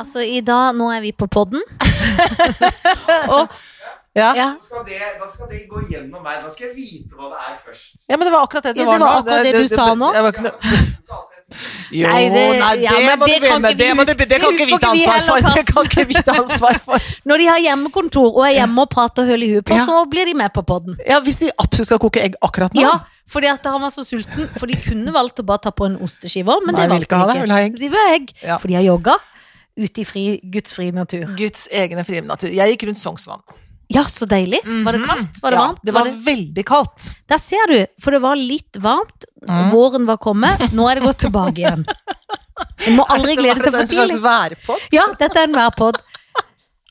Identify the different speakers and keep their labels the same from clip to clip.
Speaker 1: Altså, i dag, nå er vi på podden. og
Speaker 2: Ja.
Speaker 1: ja,
Speaker 3: Da skal, det, da skal det gå gjennom meg. Da skal jeg vite hva det er først.
Speaker 2: ja, men det var akkurat det det
Speaker 1: Ja,
Speaker 2: var
Speaker 1: det var
Speaker 2: nå.
Speaker 1: akkurat det du sa nå.
Speaker 2: det var
Speaker 3: Ja,
Speaker 2: ikke
Speaker 3: men
Speaker 2: noe-
Speaker 3: det er jo ikke alt
Speaker 1: Nei,
Speaker 2: Jo,
Speaker 3: jeg sier.
Speaker 1: det-
Speaker 2: nei, det,
Speaker 1: ja, men
Speaker 2: må du
Speaker 1: det
Speaker 2: begynne
Speaker 1: kan
Speaker 2: med.
Speaker 1: ikke
Speaker 2: Det,
Speaker 1: vi
Speaker 2: må du,
Speaker 1: huske-
Speaker 2: det kan
Speaker 1: det
Speaker 2: ikke vi
Speaker 1: husker
Speaker 2: ta
Speaker 1: ikke vi
Speaker 2: ansvar
Speaker 1: heller,
Speaker 2: for. Det
Speaker 1: Karsten.
Speaker 2: kan ikke vi ta ansvar for.
Speaker 1: når de har hjemmekontor og er hjemme og prater høl i huet på,
Speaker 2: Ja.
Speaker 1: så blir de med på podden.
Speaker 2: Ja, Hvis de absolutt skal koke egg akkurat nå
Speaker 1: Ja, fordi at han var så sulten. For de kunne valgt å bare ta på en osteskive òg, men
Speaker 2: Nei,
Speaker 1: det
Speaker 2: vil ikke
Speaker 1: valgte
Speaker 2: ha det.
Speaker 1: de
Speaker 2: Vil ha egg.
Speaker 1: ikke. De vil ha egg.
Speaker 2: Ja.
Speaker 1: For de har yoga ute i fri, Guds frie natur.
Speaker 2: Guds egne frie natur. Jeg gikk rundt Sognsvann.
Speaker 1: Ja, så deilig. Var det
Speaker 2: Mhm.
Speaker 1: kaldt? Var det
Speaker 2: ja,
Speaker 1: varmt?
Speaker 2: Det var
Speaker 1: Var det...
Speaker 2: veldig kaldt.
Speaker 1: Der ser du, for det var litt varmt.
Speaker 2: Mhm.
Speaker 1: Våren var kommet. Nå er det gått tilbake igjen. En må aldri glede seg for tidlig.
Speaker 2: Det var en slags værpott.
Speaker 1: Ja, dette er en værpod.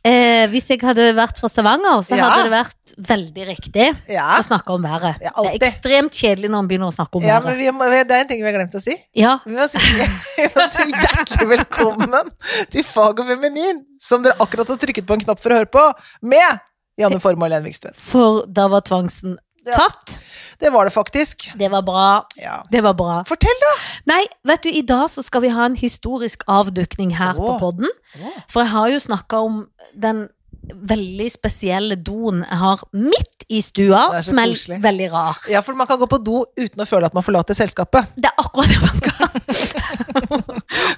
Speaker 1: Eh, hvis jeg hadde vært fra Stavanger, så
Speaker 2: Ja.
Speaker 1: hadde det vært veldig riktig
Speaker 2: Ja.
Speaker 1: å snakke om været.
Speaker 2: Ja,
Speaker 1: det er
Speaker 2: alltid.
Speaker 1: ekstremt kjedelig når man begynner å snakke om
Speaker 2: Ja,
Speaker 1: været.
Speaker 2: men vi må, det er en ting vi har glemt å si.
Speaker 1: Ja,
Speaker 2: Vi må si, vi må si hjertelig velkommen til Fag og Feminin, som dere akkurat har trykket på en knapp for å høre på, med Janne Formoe og Len Vikstvedt.
Speaker 1: for da var tvangsen
Speaker 2: Ja.
Speaker 1: tatt.
Speaker 2: Det var det faktisk.
Speaker 1: Det var bra.
Speaker 2: Ja.
Speaker 1: Det var bra.
Speaker 2: Fortell, da!
Speaker 1: Nei, vet du, i dag så skal vi ha en historisk avdukning her på
Speaker 2: Åh.
Speaker 1: podden. For jeg har jo snakka om den veldig spesielle doen jeg har midt i stua,
Speaker 2: Det er så
Speaker 1: som er
Speaker 2: koselig.
Speaker 1: veldig rar.
Speaker 2: Ja, for man kan gå på do uten å føle at man forlater selskapet.
Speaker 1: Det er akkurat det man kan.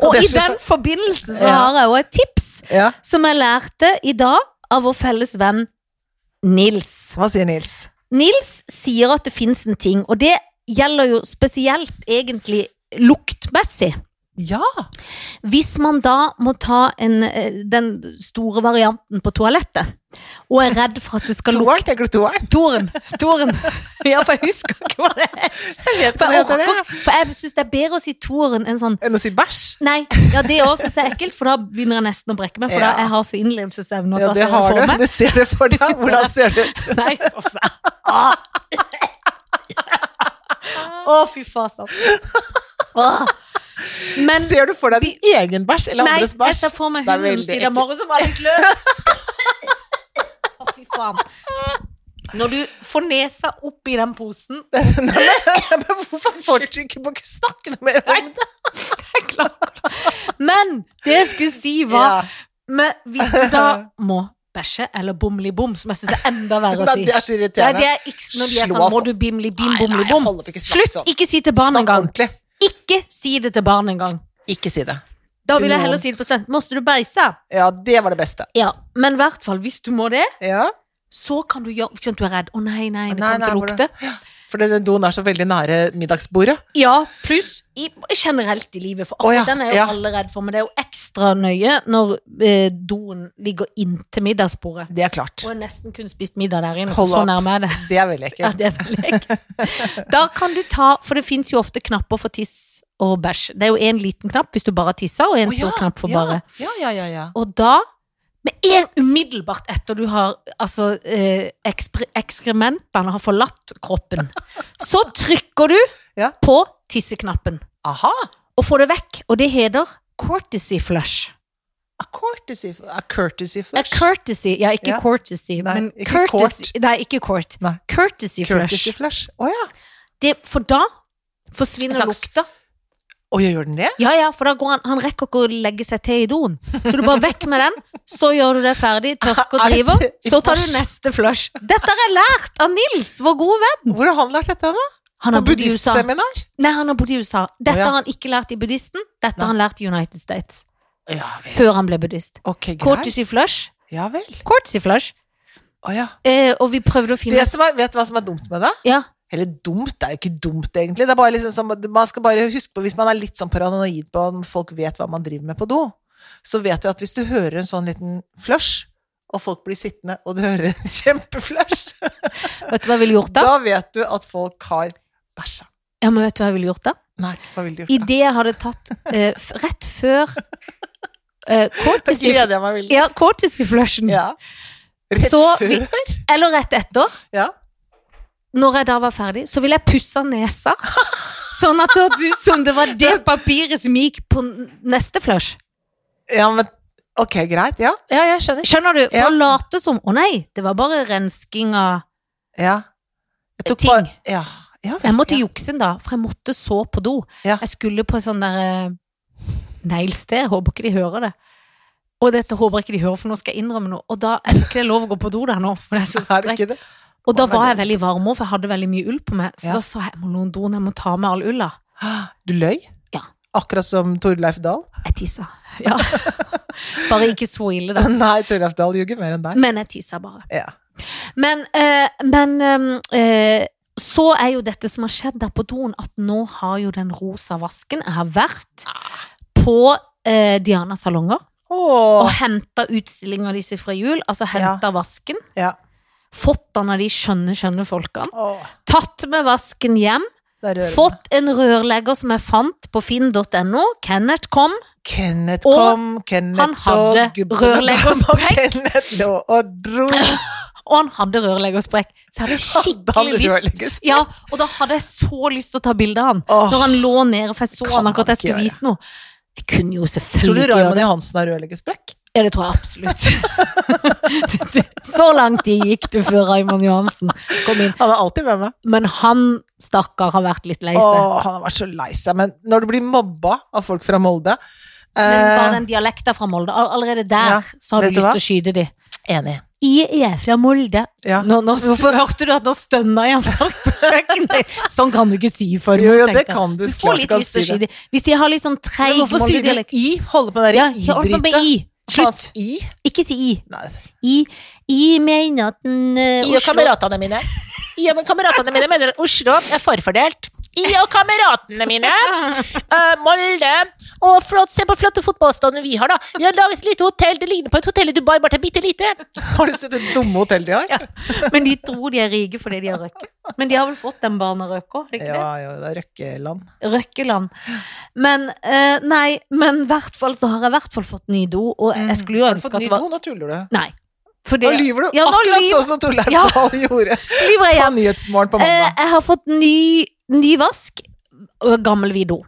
Speaker 1: og
Speaker 2: Det
Speaker 1: i
Speaker 2: er så-
Speaker 1: den forbindelse så
Speaker 2: Ja.
Speaker 1: har jeg òg et tips
Speaker 2: Ja.
Speaker 1: som jeg lærte i dag av vår felles venn Nils.
Speaker 2: Hva sier Nils?
Speaker 1: Nils sier at det fins en ting, og det gjelder jo spesielt egentlig luktmessig.
Speaker 2: Ja!
Speaker 1: Hvis man da må ta en, eh, den store varianten på toalettet, og er redd for at det skal lukte
Speaker 2: Toeren, tenker du toeren?
Speaker 1: Toren! Toren. Ja, for jeg husker ikke hva det er.
Speaker 2: Jeg vet
Speaker 1: For
Speaker 2: ikke hva
Speaker 1: jeg,
Speaker 2: heter
Speaker 1: orker
Speaker 2: det.
Speaker 1: ikke- for jeg syns det er bedre å si toren enn sånn
Speaker 2: Enn å si bæsj?
Speaker 1: Nei, ja, det òg syns jeg er ekkelt, for da begynner jeg nesten å brekke meg. For
Speaker 2: Ja.
Speaker 1: da jeg har så innlevelsesevne.
Speaker 2: Ja,
Speaker 1: og da
Speaker 2: det
Speaker 1: ser jeg
Speaker 2: har
Speaker 1: for
Speaker 2: du.
Speaker 1: meg.
Speaker 2: Du ser det for deg. Hvordan ser det ut?
Speaker 1: Nei, for faen. Ah. Å, fy faen. Ah. Men
Speaker 2: Ser du for deg din egen bæsj eller
Speaker 1: nei,
Speaker 2: andres
Speaker 1: jeg
Speaker 2: bæsj?
Speaker 1: ser for meg
Speaker 2: Det er
Speaker 1: hunden
Speaker 2: veldig
Speaker 1: siden
Speaker 2: ekkelt.
Speaker 1: morgen som var litt løs. Å, fy faen. Når du får nesa opp i den posen
Speaker 2: Men hvorfor får du ikke på å snakke noe mer om det?
Speaker 1: jeg klarer det. Men det jeg skulle si, var
Speaker 2: Ja.
Speaker 1: Men hvis du da må bæsje eller bomli-bom, som jeg syns er enda verre å
Speaker 2: Nei,
Speaker 1: si
Speaker 2: det er så
Speaker 1: Nei,
Speaker 2: irriterende.
Speaker 1: det er ikke når de er
Speaker 2: Slå
Speaker 1: sånn
Speaker 2: av.
Speaker 1: Må du bimli-bim,
Speaker 2: Nei, nei,
Speaker 1: bomli-bom?
Speaker 2: hold opp, ikke snakk
Speaker 1: Slutt!
Speaker 2: sånn.
Speaker 1: Ikke si til barn
Speaker 2: Snakk
Speaker 1: engang.
Speaker 2: ordentlig.
Speaker 1: Ikke si det til barn engang.
Speaker 2: Ikke si det.
Speaker 1: Da
Speaker 2: Til
Speaker 1: vil jeg
Speaker 2: noen.
Speaker 1: heller si det på student. Måste du beise?
Speaker 2: Ja, det var det beste.
Speaker 1: Ja, men i hvert fall hvis du må det,
Speaker 2: Ja,
Speaker 1: så kan du gjøre Ikke sant, du er redd. Å nei, nei, det
Speaker 2: Nei,
Speaker 1: kommer til å
Speaker 2: nei,
Speaker 1: lukte.
Speaker 2: for den doen er så veldig nære middagsbordet.
Speaker 1: Ja, pluss i, generelt i livet, for
Speaker 2: Å, ja,
Speaker 1: akkurat den er jo
Speaker 2: ja.
Speaker 1: alle redd for, men det er jo ekstra nøye når eh, doen ligger inntil middagsbordet.
Speaker 2: Det er klart.
Speaker 1: Og jeg nesten kun spist middag der inne,
Speaker 2: Hold
Speaker 1: for så
Speaker 2: opp.
Speaker 1: nærme er det.
Speaker 2: Det er veldig
Speaker 1: Ja,
Speaker 2: ekkelt.
Speaker 1: det er vel jeg. Da kan du ta, for det fins jo ofte knapper for tiss og bæsj. Det er jo én liten knapp hvis du bare tisser, og én
Speaker 2: Å,
Speaker 1: stor knapp for bare.
Speaker 2: Ja, ja, ja, ja.
Speaker 1: Og da, med en umiddelbart etter du har altså eh, ekspre- ekskrementene har forlatt kroppen, så trykker du
Speaker 2: Ja.
Speaker 1: på tisseknappen
Speaker 2: Aha!
Speaker 1: og får det vekk. Og det heter courtesy flush.
Speaker 2: A courtesy, a courtesy
Speaker 1: A
Speaker 2: flush.
Speaker 1: courtesy, ja, ikke
Speaker 2: Ja.
Speaker 1: courtesy,
Speaker 2: Nei,
Speaker 1: men
Speaker 2: ikke
Speaker 1: courtesy Nei, ikke court.
Speaker 2: Nei.
Speaker 1: Courtesy flush.
Speaker 2: courtesy flush. Å ja.
Speaker 1: Det, for da forsvinner
Speaker 2: En slags-
Speaker 1: lukta.
Speaker 2: Å, jeg gjør den det?
Speaker 1: Ja, ja, for da går han Han rekker ikke å legge seg til i doen. Så du bare vekk med den, så gjør du det ferdig, tørker og
Speaker 2: Er det
Speaker 1: driver,
Speaker 2: i
Speaker 1: så tar du
Speaker 2: flush?
Speaker 1: neste flush. Dette har jeg lært av Nils, vår gode venn.
Speaker 2: Hvor har han lært dette, da?
Speaker 1: Mm. Han
Speaker 2: På
Speaker 1: har bodd i USA.
Speaker 2: buddhistseminar?
Speaker 1: Nei, han har bodd i USA. Dette
Speaker 2: Å, ja.
Speaker 1: har han ikke lært i buddhisten, dette
Speaker 2: Nei.
Speaker 1: har han lært i United States.
Speaker 2: Ja vel.
Speaker 1: Før han ble buddhist.
Speaker 2: Ok, greit.
Speaker 1: Courtesy flush.
Speaker 2: Ja vel.
Speaker 1: Courtesy flush.
Speaker 2: Å ja.
Speaker 1: Eh, og vi prøvde å
Speaker 2: Det
Speaker 1: finne
Speaker 2: som er, vet du hva som er dumt med det?
Speaker 1: Ja.
Speaker 2: Eller dumt, det er jo ikke dumt egentlig. Det er bare liksom som, man skal bare huske på, hvis man er litt sånn paranoid på om folk vet hva man driver med på do, så vet du at hvis du hører en sånn liten flush, og folk blir sittende, og du hører en kjempeflush,
Speaker 1: Vet du hva jeg ville gjort da?
Speaker 2: da vet du at folk har bæsja.
Speaker 1: Ja, men vet du hva jeg ville gjort da?
Speaker 2: Nei, hva ville du gjort da?
Speaker 1: Idet jeg hadde tatt eh, f rett før eh,
Speaker 2: Da
Speaker 1: courtesy,
Speaker 2: gleder jeg meg veldig.
Speaker 1: ja, courtesy flushen.
Speaker 2: Ja. Rett
Speaker 1: Så
Speaker 2: før?
Speaker 1: Eller rett etter.
Speaker 2: Ja.
Speaker 1: Når jeg da var ferdig, så ville jeg pusse nesa. Sånn at det hørtes ut som det var det papiret som gikk på n- neste flush.
Speaker 2: Ja, men, ok, greit, ja. Ja, jeg skjønner.
Speaker 1: Skjønner du? For
Speaker 2: Ja.
Speaker 1: å late som Å nei, det var bare rensking av
Speaker 2: Ja. Jeg tok
Speaker 1: Ting.
Speaker 2: bare- ja. Ja, vel,
Speaker 1: Jeg måtte
Speaker 2: ja.
Speaker 1: jukse den da, for jeg måtte så på do.
Speaker 2: Ja.
Speaker 1: Jeg skulle på en sånn der eh, neglested, håper ikke de hører det. Og dette håper jeg ikke de hører, for nå skal jeg innrømme noe. Og da er det ikke lov å gå på do der nå. For det er så
Speaker 2: Er det
Speaker 1: strengt.
Speaker 2: ikke det?
Speaker 1: Og da
Speaker 2: Å, nei,
Speaker 1: var
Speaker 2: det-
Speaker 1: jeg veldig varm òg, for jeg hadde veldig mye ull på meg. Så
Speaker 2: Ja.
Speaker 1: da sa jeg jeg må låne doen, jeg må ta med all ulla.
Speaker 2: Du løy?
Speaker 1: Ja.
Speaker 2: Akkurat som Torleif Dahl?
Speaker 1: Jeg tissa. Ja. bare ikke så ille, da.
Speaker 2: Nei, Torleif Dahl ljuger mer enn deg.
Speaker 1: Men jeg tissa bare.
Speaker 2: Ja.
Speaker 1: Men, eh, men eh, eh, så er jo dette som har skjedd der på doen, at nå har jo den rosa vasken Jeg har vært på eh, Dianas salonger og
Speaker 2: Åh,
Speaker 1: henta utstillinga disse fra jul. Altså
Speaker 2: Ja.
Speaker 1: henta vasken.
Speaker 2: ja.
Speaker 1: Fått den av de skjønne, skjønne folkene.
Speaker 2: Åh,
Speaker 1: Tatt med vasken hjem.
Speaker 2: det er rørende.
Speaker 1: Fått en rørlegger som jeg fant på finn.no. Kenneth kom.
Speaker 2: Kenneth
Speaker 1: Og
Speaker 2: kom, Kenneth
Speaker 1: han
Speaker 2: så
Speaker 1: hadde
Speaker 2: gubben
Speaker 1: rørleggersprekk.
Speaker 2: og Kenneth lå og dro.
Speaker 1: Og han hadde rørleggersprekk. Så jeg hadde
Speaker 2: Hadde han
Speaker 1: skikkelig lyst.
Speaker 2: rørleggersprekk?
Speaker 1: Ja, og da hadde jeg så lyst til å ta bilde av han.
Speaker 2: Åh,
Speaker 1: Når han lå nede, for jeg så
Speaker 2: Kan
Speaker 1: han akkurat
Speaker 2: han
Speaker 1: jeg skulle
Speaker 2: ikke
Speaker 1: vise noe. Jeg kunne jo
Speaker 2: tror du
Speaker 1: selvfølgelig ikke gjøre
Speaker 2: Raymond
Speaker 1: det.
Speaker 2: Johansen har rørleggersprekk?
Speaker 1: Ja, det tror jeg absolutt. Det- det- Så langt de gikk det før Raymond Johansen kom inn.
Speaker 2: Han er alltid med meg.
Speaker 1: Men han, stakkar, har vært litt lei seg.
Speaker 2: Åh, han har vært så lei seg. Men når du blir mobba av folk fra Molde
Speaker 1: Men bare
Speaker 2: eh,
Speaker 1: den dialekta fra Molde, all- allerede der
Speaker 2: Ja,
Speaker 1: så har du
Speaker 2: vet du
Speaker 1: lyst
Speaker 2: hva?
Speaker 1: til å skyte de.
Speaker 2: Enig.
Speaker 1: Jeg er fra Molde.
Speaker 2: Ja.
Speaker 1: Nå, nå
Speaker 2: Hvorfor-
Speaker 1: hørte du at nå stønna jeg på kjøkkenet. Sånn kan du ikke si for
Speaker 2: Jo, jo,
Speaker 1: tenkte
Speaker 2: det
Speaker 1: jeg.
Speaker 2: kan du.
Speaker 1: Du
Speaker 2: klart
Speaker 1: får litt
Speaker 2: kan
Speaker 1: lyst til å
Speaker 2: si det.
Speaker 1: skyte de. Hvis de har litt sånn treig
Speaker 2: Men hvorfor sier du
Speaker 1: Molde-dialekk.
Speaker 2: i? Holde på den
Speaker 1: Ja,
Speaker 2: der
Speaker 1: hold på med
Speaker 2: i-brytet.
Speaker 1: i. Slutt.
Speaker 2: Faen, I?
Speaker 1: Ikke si i.
Speaker 2: Nei.
Speaker 1: I, I mener at den eh,
Speaker 2: I og kameratene mine. I og kameratene mine mener at Oslo er forfordelt. I og kameratene mine. Eh, Molde. Å, flott. Se på flotte fotballstadion vi har, da. Vi har laget et lite hotell. Det ligner på et hotell i Dubai, bare det er bitte lite. Har du sett det dumme hotellet de har? Ja,
Speaker 1: Men de tror de er rike fordi de har røkke. Men de har vel fått den barna røkke òg, ikke det?
Speaker 2: jo, det er Røkkeland.
Speaker 1: Røkkeland. Men eh, nei, men i hvert fall så har jeg i hvert fall fått ny do, og jeg skulle jo
Speaker 2: Mm. Har du
Speaker 1: ønske
Speaker 2: fått
Speaker 1: at
Speaker 2: ny
Speaker 1: det var
Speaker 2: do? Nå tuller du.
Speaker 1: Nei. Fordi
Speaker 2: Nå lyver du.
Speaker 1: Ja, nå
Speaker 2: Akkurat
Speaker 1: lyver-
Speaker 2: sånn som Torleif
Speaker 1: Ja.
Speaker 2: Dahl gjorde
Speaker 1: lyver jeg
Speaker 2: på
Speaker 1: igjen.
Speaker 2: Nyhetsmorgen på
Speaker 1: Eh,
Speaker 2: mandag.
Speaker 1: jeg har fått ny, ny vask og gammel vid do.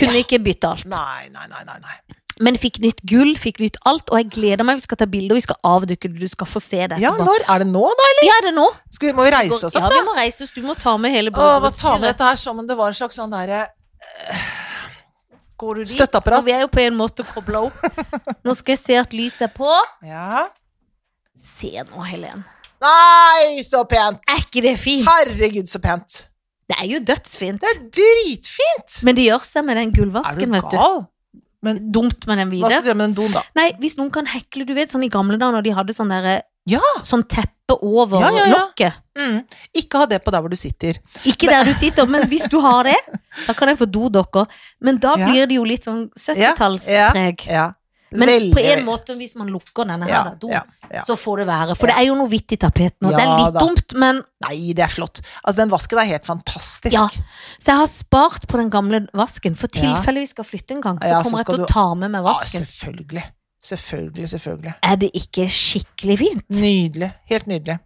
Speaker 1: Kunne ikke bytte alt.
Speaker 2: Nei, nei, nei, nei. nei.
Speaker 1: Men fikk nytt gull, fikk nytt alt, og jeg gleder meg. Vi skal ta bilder, og vi skal avduke det. Du skal få se det.
Speaker 2: Ja,
Speaker 1: etterpå.
Speaker 2: når? Er det nå, da?
Speaker 1: ja, er det nå?
Speaker 2: Skal vi, må vi reise oss opp?
Speaker 1: Ja, vi må reise oss. Du må ta med hele
Speaker 2: Å, hva ta
Speaker 1: bruddomsstyret.
Speaker 2: med dette her som om det var en slags sånn derre
Speaker 1: Går du dit?
Speaker 2: Støtteapparat.
Speaker 1: For vi er jo på en måte kobla opp. Nå skal jeg se at lyset er på.
Speaker 2: Ja.
Speaker 1: Se nå, Helen.
Speaker 2: Nei, så pent!
Speaker 1: Er ikke det fint?
Speaker 2: Herregud, så pent.
Speaker 1: Det er jo dødsfint.
Speaker 2: Det er dritfint!
Speaker 1: Men det gjør seg med den gullvasken, vet du. Dumt med den
Speaker 2: Hva skal
Speaker 1: hvite.
Speaker 2: du gjøre med den doen, da?
Speaker 1: Nei, hvis noen kan hekle, du vet, sånn i gamle dager når de hadde sånn derre
Speaker 2: Ja.
Speaker 1: Sånn teppe over
Speaker 2: Ja, ja, ja.
Speaker 1: lokket.
Speaker 2: Ikke ha det på der hvor du sitter.
Speaker 1: Ikke der du sitter, men hvis du har det, da kan jeg få dodokker. Men da
Speaker 2: Ja.
Speaker 1: blir det jo litt sånn 70-tallspreg.
Speaker 2: Ja.
Speaker 1: Men
Speaker 2: Veldig,
Speaker 1: på en
Speaker 2: veldig-
Speaker 1: måte, hvis man lukker denne her,
Speaker 2: ja,
Speaker 1: da, do,
Speaker 2: ja, ja.
Speaker 1: så får det være. For det er jo noe hvitt i tapeten, og det er
Speaker 2: Ja,
Speaker 1: litt
Speaker 2: da.
Speaker 1: dumt, men
Speaker 2: Nei, det er flott. Altså, den vasken er helt fantastisk.
Speaker 1: Ja. Så jeg har spart på den gamle vasken, for
Speaker 2: Ja.
Speaker 1: tilfelle vi skal flytte en gang, så
Speaker 2: Ja, så
Speaker 1: kommer jeg
Speaker 2: skal
Speaker 1: til å
Speaker 2: du- Ah,
Speaker 1: ta med meg
Speaker 2: Ja,
Speaker 1: vasken.
Speaker 2: selvfølgelig. Selvfølgelig, selvfølgelig.
Speaker 1: Er det ikke skikkelig fint?
Speaker 2: Nydelig. Helt nydelig.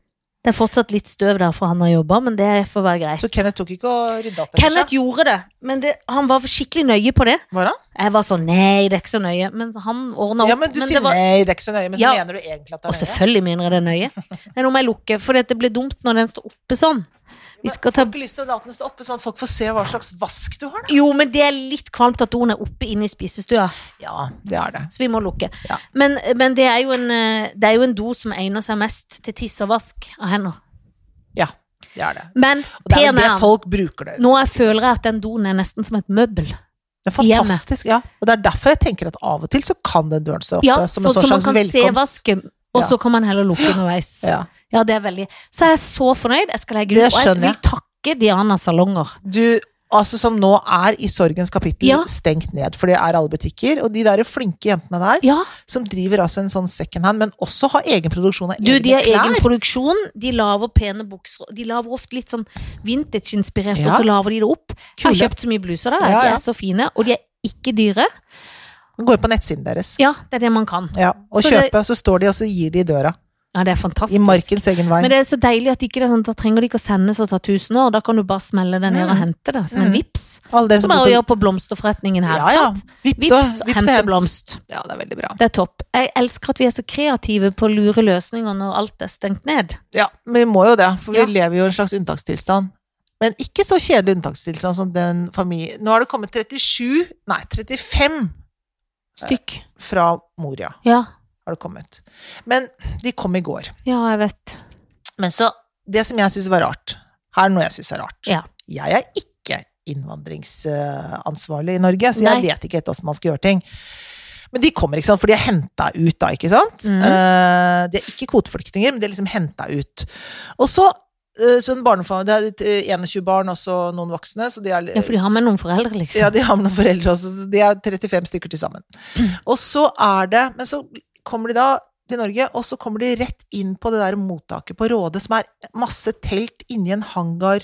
Speaker 1: Det er fortsatt litt støv der for han har jobba, men det får være greit.
Speaker 2: Så Kenneth tok ikke å rydde opp etter
Speaker 1: Kenneth gjorde det, men det, han var skikkelig nøye på det.
Speaker 2: Var han?
Speaker 1: Jeg var sånn nei, det er ikke så nøye, men han ordna opp.
Speaker 2: Ja, men du
Speaker 1: men
Speaker 2: sier
Speaker 1: det var-
Speaker 2: nei, det er ikke så nøye, men så
Speaker 1: Ja.
Speaker 2: mener du egentlig at det
Speaker 1: Og
Speaker 2: er nøye?
Speaker 1: selvfølgelig mener jeg det er nøye. Det er noe med lukke, for det blir dumt når den står oppe sånn. Vi skal ta
Speaker 2: Folk har lyst til å la den stå oppe, sånn at folk får se hva slags vask du har. Da.
Speaker 1: Jo, men det er litt kvalmt at doen er oppe inne i spisestua.
Speaker 2: Ja, det er det.
Speaker 1: Så vi må lukke.
Speaker 2: Ja.
Speaker 1: Men, men det, er jo en, eh, det er jo en do som egner seg mest til tiss og vask av hender.
Speaker 2: Ja, det er det.
Speaker 1: Men
Speaker 2: Og det er
Speaker 1: pen
Speaker 2: jo det
Speaker 1: er han.
Speaker 2: folk bruker det.
Speaker 1: Nå jeg føler jeg at den doen er nesten som et møbel.
Speaker 2: Det er fantastisk, ja. Og det er derfor jeg tenker at av og til så kan den døren stå oppe,
Speaker 1: Ja,
Speaker 2: som
Speaker 1: for,
Speaker 2: en
Speaker 1: så
Speaker 2: sånn
Speaker 1: man
Speaker 2: slags
Speaker 1: kan se
Speaker 2: velkomst.
Speaker 1: vasken, og
Speaker 2: Ja.
Speaker 1: så kan man heller lukke underveis. Ja.
Speaker 2: Ja.
Speaker 1: det er veldig Så er jeg så fornøyd. Jeg skal legge ut.
Speaker 2: Det
Speaker 1: Og jeg
Speaker 2: skjønner
Speaker 1: vil
Speaker 2: jeg.
Speaker 1: takke Diana Salonger.
Speaker 2: Du, altså som nå er i sorgens kapittel
Speaker 1: Ja.
Speaker 2: stengt ned, for det er alle butikker, og de der flinke jentene der,
Speaker 1: Ja,
Speaker 2: som driver altså en sånn secondhand, men også har egen produksjon av
Speaker 1: du,
Speaker 2: egne
Speaker 1: de har
Speaker 2: klær.
Speaker 1: egen produksjon. De lager pene bukser. De lager ofte litt sånn vintage-inspirert, og
Speaker 2: Ja.
Speaker 1: så lager de det opp. Jeg har
Speaker 2: Kule.
Speaker 1: kjøpt så mye bluser der.
Speaker 2: Ja,
Speaker 1: De
Speaker 2: ja.
Speaker 1: er så fine, og de er ikke dyre.
Speaker 2: Går på nettsiden deres.
Speaker 1: Ja, det er det man kan.
Speaker 2: Ja, og
Speaker 1: Så det-
Speaker 2: kjøpe, så står de og så gir de i døra.
Speaker 1: Ja, det er
Speaker 2: I
Speaker 1: fantastisk.
Speaker 2: markens egen vei.
Speaker 1: Men det er så deilig at ikke det er sånn, da trenger de ikke å sendes og ta tusen år. Da kan du bare smelle det ned og
Speaker 2: Mm.
Speaker 1: hente det som en
Speaker 2: Mm.
Speaker 1: vips.
Speaker 2: Alle dere
Speaker 1: Som
Speaker 2: som
Speaker 1: er
Speaker 2: bor
Speaker 1: å
Speaker 2: på-
Speaker 1: gjøre på blomsterforretningen her.
Speaker 2: Ja, ja.
Speaker 1: sant?
Speaker 2: Vips,
Speaker 1: Vips,
Speaker 2: og-
Speaker 1: vips
Speaker 2: og
Speaker 1: hente
Speaker 2: hent.
Speaker 1: blomst.
Speaker 2: Ja, det er veldig bra.
Speaker 1: Det er topp. Jeg elsker at vi er så kreative på å lure løsninger når alt er stengt ned.
Speaker 2: Ja, men vi må jo det, for vi
Speaker 1: Ja.
Speaker 2: lever jo i en slags unntakstilstand. Men ikke så kjedelig unntakstilstand som den familien Nå har det kommet 37, nei 35
Speaker 1: Stykk.
Speaker 2: fra Moria.
Speaker 1: Ja.
Speaker 2: har det kommet. Men de kom i går.
Speaker 1: Ja, jeg vet.
Speaker 2: Men så Det som jeg syns var rart Her er noe jeg syns er rart.
Speaker 1: Ja.
Speaker 2: Jeg er ikke innvandringsansvarlig i Norge, så jeg
Speaker 1: Nei.
Speaker 2: vet ikke helt åssen man skal gjøre ting. Men de kommer, ikke sant, for de er henta ut, da, ikke sant?
Speaker 1: Mhm.
Speaker 2: Eh, de er ikke kvoteflyktninger, men de er liksom henta ut. Og så eh, så en barnefamilie Det er eh, 21 barn, også noen voksne, så de er
Speaker 1: Ja, for de har med noen foreldre, liksom.
Speaker 2: ja, de har med noen foreldre også, så de er 35 stykker til sammen. Og så er det Men så kommer de da til Norge, og så kommer de rett inn på det der mottaket på Råde, som er masse telt inni en hangarhall.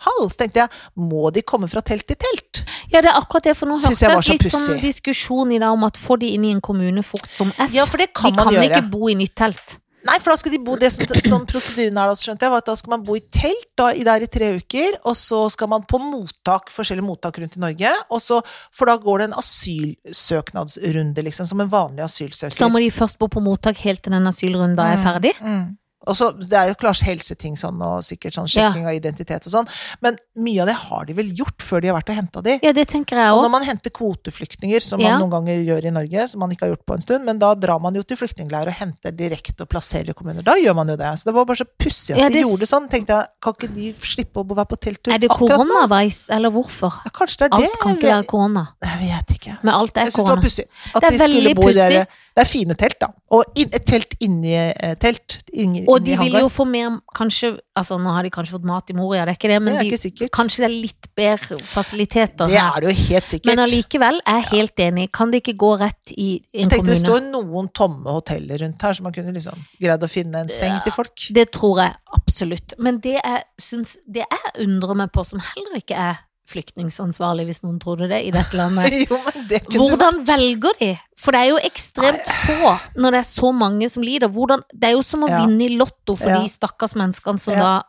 Speaker 2: Så tenkte jeg, må de komme fra telt til telt?
Speaker 1: Ja, det er akkurat det, for nå
Speaker 2: Synes
Speaker 1: hørtes
Speaker 2: jeg var så
Speaker 1: litt sånn
Speaker 2: pussig.
Speaker 1: diskusjon i dag om at få de inn i en kommune fort som F.
Speaker 2: Ja, for det kan
Speaker 1: de
Speaker 2: man
Speaker 1: kan
Speaker 2: gjøre.
Speaker 1: ikke bo i nytt telt.
Speaker 2: Nei, for da skal de bo det som, som prosedyren er, da, skjønte jeg, var at da skal man bo i telt da, i der i tre uker, og så skal man på mottak, forskjellige mottak rundt i Norge, og så, for da går det en asylsøknadsrunde, liksom, som en
Speaker 1: Så
Speaker 2: vanlig
Speaker 1: da
Speaker 2: asylsøker.
Speaker 1: må de først bo på mottak helt til den asylrunden er
Speaker 2: Mm.
Speaker 1: ferdig.
Speaker 2: Mm. Og så, Det er jo klart helseting sånn, og sikkert sånn sjekking av identitet og sånn, men mye av det har de vel gjort før de har vært og henta de.
Speaker 1: Ja, det tenker jeg
Speaker 2: Og
Speaker 1: òg.
Speaker 2: når man henter kvoteflyktninger, som
Speaker 1: Ja.
Speaker 2: man noen ganger gjør i Norge, som man ikke har gjort på en stund, men da drar man jo til flyktningleirer og henter direkte og plasserer i kommuner. Da gjør man jo det. Så det var bare så pussig at
Speaker 1: Ja,
Speaker 2: de
Speaker 1: det-
Speaker 2: gjorde det sånn. Tenkte jeg, kan ikke de slippe å bo- være på telttur
Speaker 1: Er det
Speaker 2: akkurat nå?
Speaker 1: koronaveis, eller hvorfor?
Speaker 2: Ja, kanskje det er det.
Speaker 1: Alt kan ikke
Speaker 2: jeg,
Speaker 1: være korona.
Speaker 2: vet, jeg vet ikke.
Speaker 1: Men alt er
Speaker 2: Jeg syns det var
Speaker 1: korona.
Speaker 2: pussig. At
Speaker 1: Det er
Speaker 2: de skulle
Speaker 1: veldig
Speaker 2: bo i det
Speaker 1: pussig.
Speaker 2: Det er fine telt, da. Og inn- et telt inni eh, telt. Inni,
Speaker 1: Og
Speaker 2: inni
Speaker 1: de vil
Speaker 2: hangar.
Speaker 1: jo få mer kanskje, altså Nå har de kanskje fått mat i Moria, det er ikke det, men
Speaker 2: Det er
Speaker 1: de,
Speaker 2: ikke sikkert.
Speaker 1: kanskje det er litt bedre fasiliteter
Speaker 2: Det
Speaker 1: her.
Speaker 2: er det jo helt sikkert.
Speaker 1: Men allikevel er jeg helt enig. Kan det ikke gå rett i en
Speaker 2: jeg tenkte det
Speaker 1: kommune?
Speaker 2: står noen tomme hoteller rundt her, så man kunne liksom greid å finne en seng til folk.
Speaker 1: Det tror jeg absolutt. Men det jeg, syns, det jeg undrer meg på, som heller ikke er flyktningansvarlig, hvis noen trodde det, i dette landet,
Speaker 2: Jo, men det kunne
Speaker 1: Hvordan
Speaker 2: vært.
Speaker 1: velger de? For det er jo ekstremt få når det er så mange som lider. Hvordan, det er jo som å
Speaker 2: Ja.
Speaker 1: vinne i lotto for
Speaker 2: Ja.
Speaker 1: de stakkars menneskene som
Speaker 2: Ja.
Speaker 1: da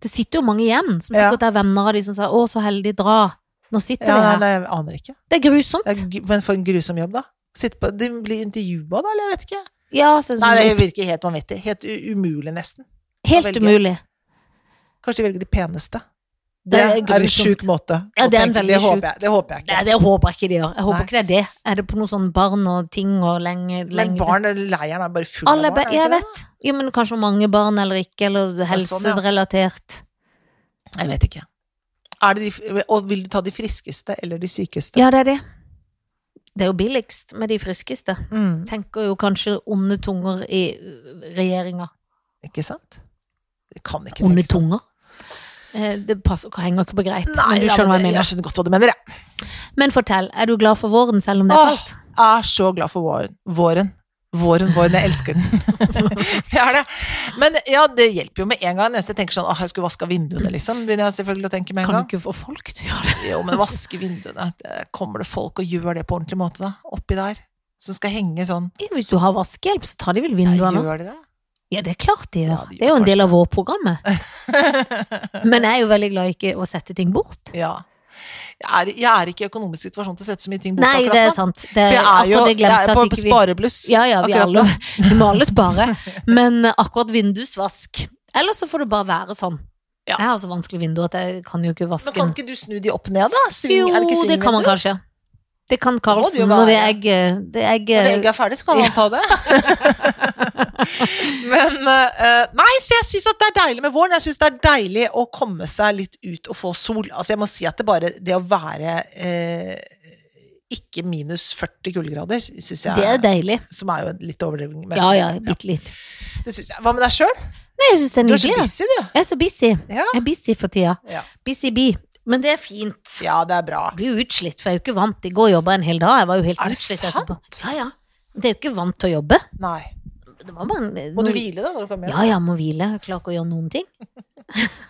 Speaker 1: Det sitter jo mange igjen, som
Speaker 2: Ja.
Speaker 1: sikkert er venner av de som sier 'Å, så heldig, dra'. Nå sitter
Speaker 2: Ja,
Speaker 1: de
Speaker 2: nei,
Speaker 1: her.
Speaker 2: nei, jeg aner ikke.
Speaker 1: Det er grusomt.
Speaker 2: Det er, gu- men for en grusom jobb, da. Sitte på, de blir intervjua, da, eller jeg vet ikke.
Speaker 1: Ja, så er det
Speaker 2: Nei,
Speaker 1: sånn,
Speaker 2: det virker helt vanvittig. Helt u umulig, nesten.
Speaker 1: helt
Speaker 2: velge.
Speaker 1: umulig.
Speaker 2: Kanskje de velger de peneste.
Speaker 1: Det er
Speaker 2: en sjuk
Speaker 1: grusomt.
Speaker 2: måte.
Speaker 1: Ja,
Speaker 2: å
Speaker 1: det er en
Speaker 2: tenke.
Speaker 1: veldig
Speaker 2: det
Speaker 1: sjuk-
Speaker 2: håper jeg, det håper jeg
Speaker 1: Nei,
Speaker 2: ikke.
Speaker 1: det håper jeg ikke de gjør. Jeg håper
Speaker 2: Nei.
Speaker 1: ikke det er det. Er det på noe sånn barn og ting og lenge, lenge
Speaker 2: Men barn, leiren er bare full
Speaker 1: Alle barn,
Speaker 2: av barn. er det
Speaker 1: jeg
Speaker 2: ikke det?
Speaker 1: vet. Jo, men kanskje mange barn eller ikke, eller
Speaker 2: sånn, ja.
Speaker 1: helserelatert.
Speaker 2: Jeg vet ikke. Er det de, og vil du ta de friskeste eller de sykeste?
Speaker 1: Ja, det er det. Det er jo billigst med de friskeste.
Speaker 2: Mm,
Speaker 1: Tenker jo kanskje onde tunger i regjeringa.
Speaker 2: ikke sant? Det kan ikke
Speaker 1: Onde
Speaker 2: tenke sånn.
Speaker 1: tunger? Eh, Det passer, henger ikke på greip,
Speaker 2: Nei,
Speaker 1: men du
Speaker 2: ja,
Speaker 1: skjønner hva jeg
Speaker 2: men
Speaker 1: mener.
Speaker 2: jeg skjønner godt hva du mener, jeg.
Speaker 1: Men fortell, er du glad for våren selv om det er
Speaker 2: Åh,
Speaker 1: kaldt?
Speaker 2: Jeg er så glad for våren. Våren, våren, våren. Jeg elsker den. jeg er det. Men ja, det hjelper jo med en gang. Neste jeg tenker sånn åh, jeg skulle vaska vinduene, liksom. Begynner jeg selvfølgelig å tenke med en
Speaker 1: Kan du
Speaker 2: gang.
Speaker 1: ikke få folk til å gjøre det?
Speaker 2: Jo, men vaske vinduene. det- Kommer det folk og gjør det på ordentlig måte, da? Oppi der? Som skal henge sånn.
Speaker 1: Ja, Hvis du har vaskehjelp, så tar de vel
Speaker 2: Ja,
Speaker 1: vinduene?
Speaker 2: gjør de det?
Speaker 1: Ja, det er klart de
Speaker 2: Ja,
Speaker 1: gjør.
Speaker 2: de
Speaker 1: Det er jo
Speaker 2: gjør
Speaker 1: en del av vårprogrammet. Men jeg er jo veldig glad i ikke å sette ting bort.
Speaker 2: ja. Jeg er, jeg er ikke i økonomisk situasjon til å sette så mye ting bort
Speaker 1: Nei, det er
Speaker 2: akkurat nå.
Speaker 1: sant. Det
Speaker 2: For
Speaker 1: er
Speaker 2: jeg er jo
Speaker 1: akkurat det jeg
Speaker 2: jeg er
Speaker 1: glemte
Speaker 2: på,
Speaker 1: at
Speaker 2: på
Speaker 1: ikke vi
Speaker 2: sparebluss.
Speaker 1: Ja, ja, vi,
Speaker 2: akkurat nå.
Speaker 1: alle, vi må alle spare. Men eh, akkurat vindusvask. Eller så får det bare være sånn.
Speaker 2: Ja.
Speaker 1: Jeg har så vanskelig vindu at jeg kan jo ikke
Speaker 2: Men
Speaker 1: vaske
Speaker 2: kan
Speaker 1: den.
Speaker 2: ikke du snu de opp ned, da? Sving,
Speaker 1: Jo,
Speaker 2: er det ikke
Speaker 1: det kan man
Speaker 2: svingvindu?
Speaker 1: kanskje. Det kan
Speaker 2: må det jo
Speaker 1: Karlsen når det er
Speaker 2: være.
Speaker 1: egg, eh, det er egg,
Speaker 2: Når det
Speaker 1: eh,
Speaker 2: egget er ferdig, så kan han ta det. Men eh, Nei, så jeg syns det er deilig med våren. Jeg syns det er deilig å komme seg litt ut og få sol. Altså, jeg må si at det bare Det å være eh, ikke minus 40 kuldegrader, syns jeg
Speaker 1: Det er deilig.
Speaker 2: Som er jo en litt overdrivning. men jeg
Speaker 1: Ja,
Speaker 2: synes
Speaker 1: ja,
Speaker 2: det-
Speaker 1: bitte litt.
Speaker 2: ja, det syns jeg. Hva med deg sjøl?
Speaker 1: Nei, jeg syns det er
Speaker 2: Du er så
Speaker 1: nydelig.
Speaker 2: busy, du.
Speaker 1: Jeg er så busy.
Speaker 2: Ja.
Speaker 1: Jeg er busy for tida.
Speaker 2: Ja.
Speaker 1: Busy bee. Men det er fint.
Speaker 2: ja, det er bra.
Speaker 1: Jeg blir jo utslitt, for jeg er jo ikke vant. I går jobba jeg en hel dag. Jeg var jo helt
Speaker 2: Er det
Speaker 1: utslitt
Speaker 2: sant?
Speaker 1: etterpå. Ja, ja. Det er jo ikke vant til å jobbe.
Speaker 2: Nei.
Speaker 1: Det var bare en,
Speaker 2: Må du
Speaker 1: noe-
Speaker 2: hvile da når du kommer hjem?
Speaker 1: Ja, ja, må hvile. Jeg Klarer ikke å gjøre noen ting.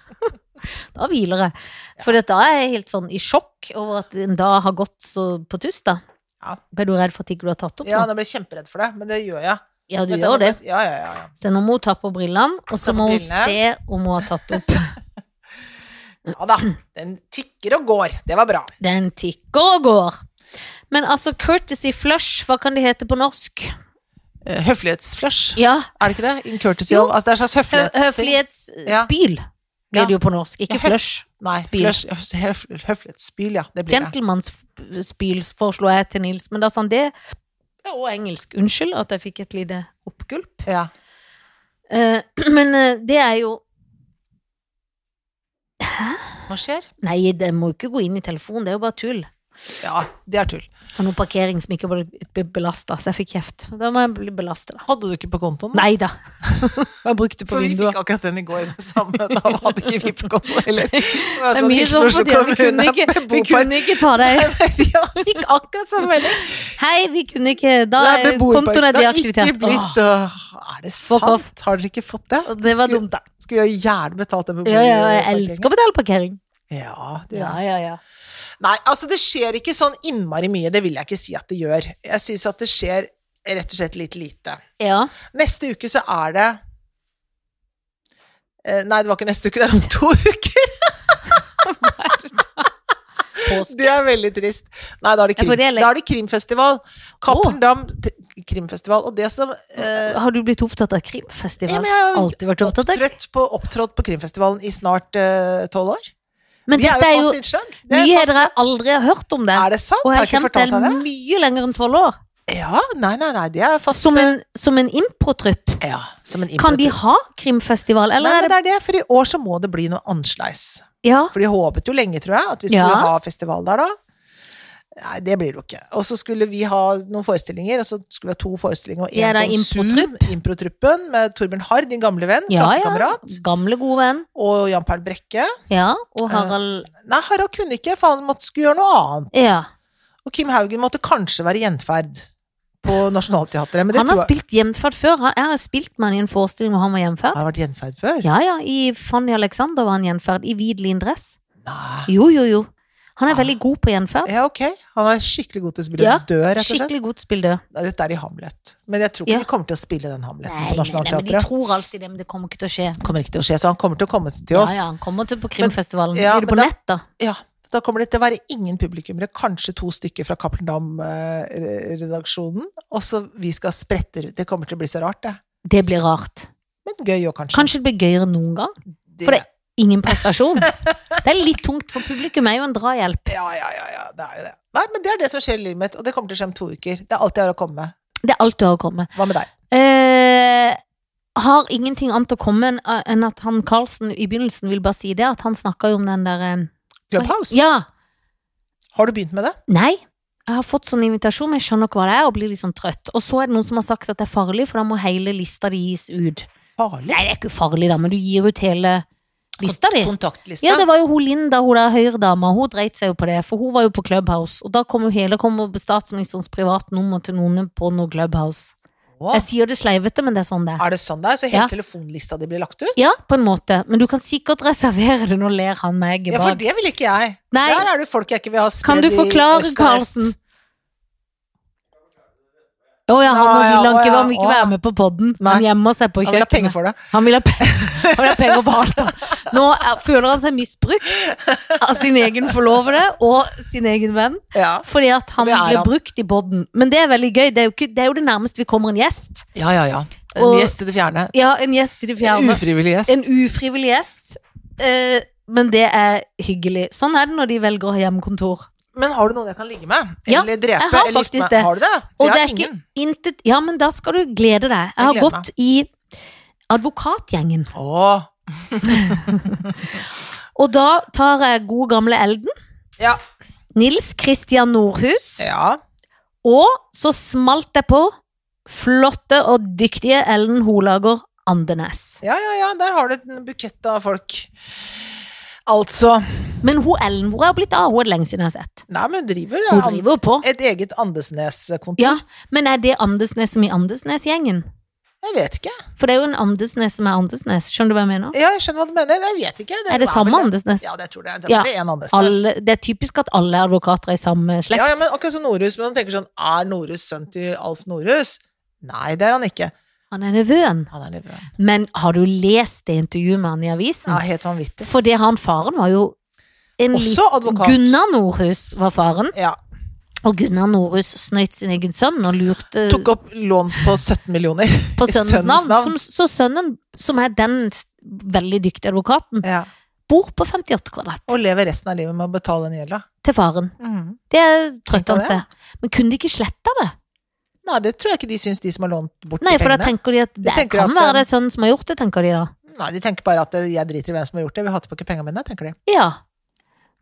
Speaker 1: da hviler jeg. For da er jeg helt sånn i sjokk over at en dag har gått så på tuss, da.
Speaker 2: Ja.
Speaker 1: Ble du redd for at ikke du har tatt opp?
Speaker 2: Ja,
Speaker 1: nå?
Speaker 2: nå ble jeg kjemperedd for det, men det gjør jeg.
Speaker 1: ja du
Speaker 2: Vet
Speaker 1: gjør
Speaker 2: hva
Speaker 1: det.
Speaker 2: jeg- Ja, ja, ja, ja.
Speaker 1: Så nå må hun ta på brillene, og
Speaker 2: Ta
Speaker 1: så
Speaker 2: på
Speaker 1: må hun
Speaker 2: brillene.
Speaker 1: se om hun har tatt opp.
Speaker 2: ja da. Den tikker og går. Det var bra.
Speaker 1: Den tikker og går. Men altså, courtesy flush, hva kan det hete på norsk?
Speaker 2: Eh, Høflighetsflush.
Speaker 1: Ja,
Speaker 2: Er det ikke det? In courtesy
Speaker 1: Jo.
Speaker 2: of Altså det er en slags
Speaker 1: hø
Speaker 2: høflighetsting. Ja.
Speaker 1: høflighetsspyl blir det jo på norsk,
Speaker 2: Ja,
Speaker 1: ikke
Speaker 2: høf-
Speaker 1: flush.
Speaker 2: Nei,
Speaker 1: Spil.
Speaker 2: flush- høf- høf- høflighetsspil, ja. Det blir det.
Speaker 1: Gentlemanspyl foreslo jeg til Nils, men da sa han det Ja, og engelsk. Unnskyld at jeg fikk et lite oppgulp.
Speaker 2: Ja.
Speaker 1: Eh, men eh, det er jo
Speaker 2: Hva skjer?
Speaker 1: Nei, det må jo ikke gå inn i telefonen, det er jo bare tull.
Speaker 2: Ja, det er tull.
Speaker 1: Det er noe parkering som ikke ble belasta, så jeg fikk kjeft. Da må jeg bli belasta, da.
Speaker 2: Hadde du ikke på kontoen?
Speaker 1: Nei da. Jeg brukte på
Speaker 2: For vi fikk
Speaker 1: vinduet.
Speaker 2: akkurat den i går, det samme. Da hadde ikke vi på kontoen heller. Det var
Speaker 1: Det er
Speaker 2: sånn,
Speaker 1: mye
Speaker 2: Oslo
Speaker 1: sånn fordi at vi kunne
Speaker 2: kommune
Speaker 1: ikke,
Speaker 2: med
Speaker 1: vi
Speaker 2: bopar-
Speaker 1: kunne ikke ta deg
Speaker 2: Vi fikk akkurat samme melding.
Speaker 1: Hei, vi kunne ikke Da
Speaker 2: Nei,
Speaker 1: er
Speaker 2: beboerpark-
Speaker 1: kontoen er
Speaker 2: Det har ikke
Speaker 1: deaktivert.
Speaker 2: blitt, åh, er det
Speaker 1: Fuck
Speaker 2: sant?
Speaker 1: off.
Speaker 2: Har dere ikke fått det?
Speaker 1: Åh, det var
Speaker 2: Skulle-
Speaker 1: dumt, da.
Speaker 2: Skulle jo gjerne betalt det.
Speaker 1: Ja, ja, jeg elsker å betale parkering.
Speaker 2: Ja, det gjør
Speaker 1: Ja,
Speaker 2: jeg.
Speaker 1: ja, ja.
Speaker 2: Nei, altså det skjer ikke sånn innmari mye, det vil jeg ikke si at det gjør. Jeg syns at det skjer rett og slett litt lite.
Speaker 1: Ja,
Speaker 2: Neste uke så er det Eh, Nei, det var ikke neste uke, det er om to uker!
Speaker 1: påske.
Speaker 2: Det er veldig trist. Nei, da er det,
Speaker 1: Ja,
Speaker 2: krim.
Speaker 1: for det er lett.
Speaker 2: da er det krimfestival. Cappelen Dam t- krimfestival. Og det som eh,
Speaker 1: Har du blitt opptatt av
Speaker 2: ja,
Speaker 1: krimfestival?
Speaker 2: men Jeg har
Speaker 1: Alltid vært opptatt av
Speaker 2: opptrådt på, opptrådt på krimfestivalen i snart eh, tolv år.
Speaker 1: Men
Speaker 2: Vi er
Speaker 1: dette er
Speaker 2: jo
Speaker 1: jo
Speaker 2: fast innslag. Det er, fast,
Speaker 1: nyheter jeg aldri har hørt om det.
Speaker 2: er det sant?
Speaker 1: Og jeg har
Speaker 2: Har jeg ikke
Speaker 1: kjent
Speaker 2: fortalt deg
Speaker 1: det
Speaker 2: det?
Speaker 1: mye lenger enn tolv år.
Speaker 2: Ja, nei, nei, nei, det er fast
Speaker 1: Som en, som en improtrupp.
Speaker 2: eh, ja, som en
Speaker 1: Kan de
Speaker 2: improtur.
Speaker 1: ha krimfestival, eller
Speaker 2: Nei,
Speaker 1: er
Speaker 2: men
Speaker 1: det
Speaker 2: det er det, for i år så må det bli noe annerledes.
Speaker 1: Ja.
Speaker 2: For de håpet jo lenge, tror jeg, at vi skulle
Speaker 1: Ja.
Speaker 2: ha festival der da. Nei, det blir det jo ikke. Og så skulle vi ha noen forestillinger, og så skulle vi ha to forestillinger og
Speaker 1: Det er
Speaker 2: en
Speaker 1: da
Speaker 2: sånn Zoom, improtruppen, med Torbjørn Harr, din gamle venn,
Speaker 1: Ja, ja.
Speaker 2: klassekamerat,
Speaker 1: Gamle, gode venn.
Speaker 2: og Jan Perl Brekke.
Speaker 1: Ja. Og Harald
Speaker 2: Nei, Harald kunne ikke, for han måtte skulle gjøre noe annet.
Speaker 1: Ja.
Speaker 2: Og Kim Haugen måtte kanskje være gjenferd på Nationaltheatret, men det
Speaker 1: Han har
Speaker 2: tror jeg
Speaker 1: spilt hjemferd før. Han- Jeg har spilt med han i en forestilling hvor han var hjemferd.
Speaker 2: har han vært gjenferd før.
Speaker 1: Ja, ja. I Fanny Alexander var han gjenferd. I hvit lindress.
Speaker 2: Nei.
Speaker 1: Jo, jo, jo. Han er
Speaker 2: Ah.
Speaker 1: veldig god på gjenferd.
Speaker 2: Ja, ok. Han er skikkelig god til å spille
Speaker 1: Ja,
Speaker 2: død, rett og slett.
Speaker 1: Skikkelig godt spilldød.
Speaker 2: Nei, Dette er i Hamlet. Men jeg tror ikke
Speaker 1: Ja.
Speaker 2: de kommer til å spille den
Speaker 1: Nei, nei,
Speaker 2: Hamleten på
Speaker 1: nei, men de
Speaker 2: Nationaltheatret.
Speaker 1: tror alltid det, men det kommer ikke til å skje.
Speaker 2: kommer ikke til å skje, så han kommer til å komme til
Speaker 1: Ja,
Speaker 2: oss.
Speaker 1: ja,
Speaker 2: Ja,
Speaker 1: han kommer til på krimfestivalen.
Speaker 2: ja,
Speaker 1: Blir det på
Speaker 2: men da-
Speaker 1: nett, da?
Speaker 2: Da kommer det til å være ingen publikummere, kanskje to stykker fra Cappelen Dam-redaksjonen. Og så vi skal sprette rundt. Det kommer til å bli så rart, det.
Speaker 1: Det blir rart.
Speaker 2: Men gøy òg, kanskje.
Speaker 1: Kanskje det blir gøyere enn noen gang?
Speaker 2: Det-
Speaker 1: for det- Ingen prestasjon. Det er litt tungt, for publikum er jo en drahjelp.
Speaker 2: Ja, ja, ja, ja, det er jo det. Nei, men det er det som skjer i livet mitt, og det kommer til å skje om to uker. Det er alt jeg har å komme med.
Speaker 1: Det er alt du har å komme med.
Speaker 2: Hva med deg?
Speaker 1: Eh, har ingenting annet å komme enn eh, enn at han Carlsen i begynnelsen vil bare si det, at han snakka jo om den der eh,
Speaker 2: Clubhouse?
Speaker 1: Ja.
Speaker 2: Har du begynt med det?
Speaker 1: Nei. Jeg har fått sånn invitasjon, men jeg skjønner ikke hva det er, og blir litt sånn trøtt. Og så er det noen som har sagt at det er farlig, for da må hele lista di gis ut.
Speaker 2: Farlig?
Speaker 1: Nei, det er ikke farlig, da, men du gir ut hele lista di.
Speaker 2: Kontaktliste?
Speaker 1: Ja, det var jo hun Linda, hun der høyredama, hun dreit seg jo på det, for hun var jo på Clubhouse, og da kom jo hele kom jo statsministerens privatnummer til noen på noe Clubhouse.
Speaker 2: Å,
Speaker 1: Jeg sier det sleivete, men det er sånn det er.
Speaker 2: Er det sånn det er? Så hele
Speaker 1: Ja.
Speaker 2: telefonlista di blir lagt ut?
Speaker 1: Ja, på en måte, men du kan sikkert reservere det, nå ler han meg i
Speaker 2: Ja, for
Speaker 1: bad.
Speaker 2: det vil ikke jeg.
Speaker 1: Nei,
Speaker 2: Der er det folk jeg ikke vil ha
Speaker 1: kan
Speaker 2: spredd
Speaker 1: du
Speaker 2: i
Speaker 1: forklare,
Speaker 2: øst og vest.
Speaker 1: Karlsen? Å ja, han, nå
Speaker 2: Å ja,
Speaker 1: vil han
Speaker 2: å
Speaker 1: ikke
Speaker 2: ja,
Speaker 1: være, ikke
Speaker 2: å ja.
Speaker 1: være med på podden.
Speaker 2: Nei.
Speaker 1: Han gjemmer seg på
Speaker 2: Han vil ha
Speaker 1: kjøkkenet.
Speaker 2: penger for det.
Speaker 1: Han vil ha, pe han vil ha penger for alt. da. Nå er, føler han seg misbrukt av sin egen forlovede og sin egen venn.
Speaker 2: Ja.
Speaker 1: Fordi at han
Speaker 2: Det er
Speaker 1: blir
Speaker 2: han.
Speaker 1: brukt i podden. Men det er veldig gøy. Det er jo, ikke, det, er jo det nærmeste vi kommer en gjest.
Speaker 2: Ja, ja, ja. En
Speaker 1: Og-
Speaker 2: gjest i det fjerne.
Speaker 1: Ja, en gjest i det
Speaker 2: En
Speaker 1: fjerne.
Speaker 2: ufrivillig gjest.
Speaker 1: En ufrivillig gjest. Eh, men det er hyggelig. Sånn er det når de velger å ha hjemmekontor.
Speaker 2: Men har du noen jeg kan ligge med?
Speaker 1: Ja,
Speaker 2: Eller drepe?
Speaker 1: jeg har
Speaker 2: eller gifte
Speaker 1: faktisk
Speaker 2: meg?
Speaker 1: det.
Speaker 2: Har du det?
Speaker 1: Og
Speaker 2: For
Speaker 1: det
Speaker 2: jeg
Speaker 1: er
Speaker 2: har
Speaker 1: ikke
Speaker 2: ingen.
Speaker 1: intet Ja, men da skal du glede deg. Jeg har
Speaker 2: Jeg gleder
Speaker 1: gått i advokatgjengen.
Speaker 2: Åh.
Speaker 1: Og da tar jeg god gamle Elden.
Speaker 2: Ja.
Speaker 1: Nils Christian Nordhus.
Speaker 2: ja.
Speaker 1: Og så smalt jeg på flotte og dyktige Ellen Holager Andenes.
Speaker 2: Ja, ja, ja. Der har du en bukett av folk. Altså
Speaker 1: Men hun Ellen, hvor er hun blitt av? Hun er det lenge siden jeg har sett.
Speaker 2: Nei, men hun driver,
Speaker 1: Hun
Speaker 2: ja. Eh,
Speaker 1: driver jo på.
Speaker 2: Et eget Andesnes-kontor.
Speaker 1: Ja, men er det Andesnes som i Andesnes-gjengen?
Speaker 2: Jeg vet ikke.
Speaker 1: For det er jo en Andesnes som er Andesnes. Skjønner du hva jeg mener?
Speaker 2: Ja, jeg skjønner hva du mener. Jeg vet ikke.
Speaker 1: Er det
Speaker 2: vel
Speaker 1: samme Andesnes?
Speaker 2: Ja, det tror jeg. Det
Speaker 1: Ja.
Speaker 2: er bare én Andesnes.
Speaker 1: Alle, det er typisk at alle advokater er i samme slekt.
Speaker 2: Ja, ja, men akkurat som Norhus. Men man tenker sånn Er Norhus sønn til Alf Norhus? Nei, det er han ikke.
Speaker 1: Han er nevøen.
Speaker 2: Han er nevøen.
Speaker 1: Men har du lest det intervjuet med han i avisen?
Speaker 2: Ja, helt vanvittig.
Speaker 1: For det han faren var jo en
Speaker 2: Også
Speaker 1: liten
Speaker 2: advokat.
Speaker 1: Gunnar Nordhus var faren,
Speaker 2: Ja.
Speaker 1: og Gunnar Nordhus snøyt sin egen sønn og lurte
Speaker 2: Tok opp lån på 17 millioner.
Speaker 1: på
Speaker 2: i
Speaker 1: sønnens
Speaker 2: sønnens
Speaker 1: navn.
Speaker 2: navn.
Speaker 1: Som, så sønnen, som er den veldig dyktige advokaten,
Speaker 2: Ja.
Speaker 1: bor på 58 kvadrat
Speaker 2: Og lever resten av livet med å betale den gjelda.
Speaker 1: Mm. til faren. Det er trøttende. Men kunne de ikke sletta det?
Speaker 2: Nei, det tror jeg ikke de syns, de som har lånt bort
Speaker 1: Nei,
Speaker 2: de
Speaker 1: for da
Speaker 2: pengene.
Speaker 1: tenker de at det
Speaker 2: tenker
Speaker 1: kan
Speaker 2: at,
Speaker 1: være
Speaker 2: eh,
Speaker 1: sønnen som har gjort det, tenker de da.
Speaker 2: Nei, de tenker bare at eh, jeg driter i hvem som har gjort det, vi har tilbake pengene mine, tenker de.
Speaker 1: Ja.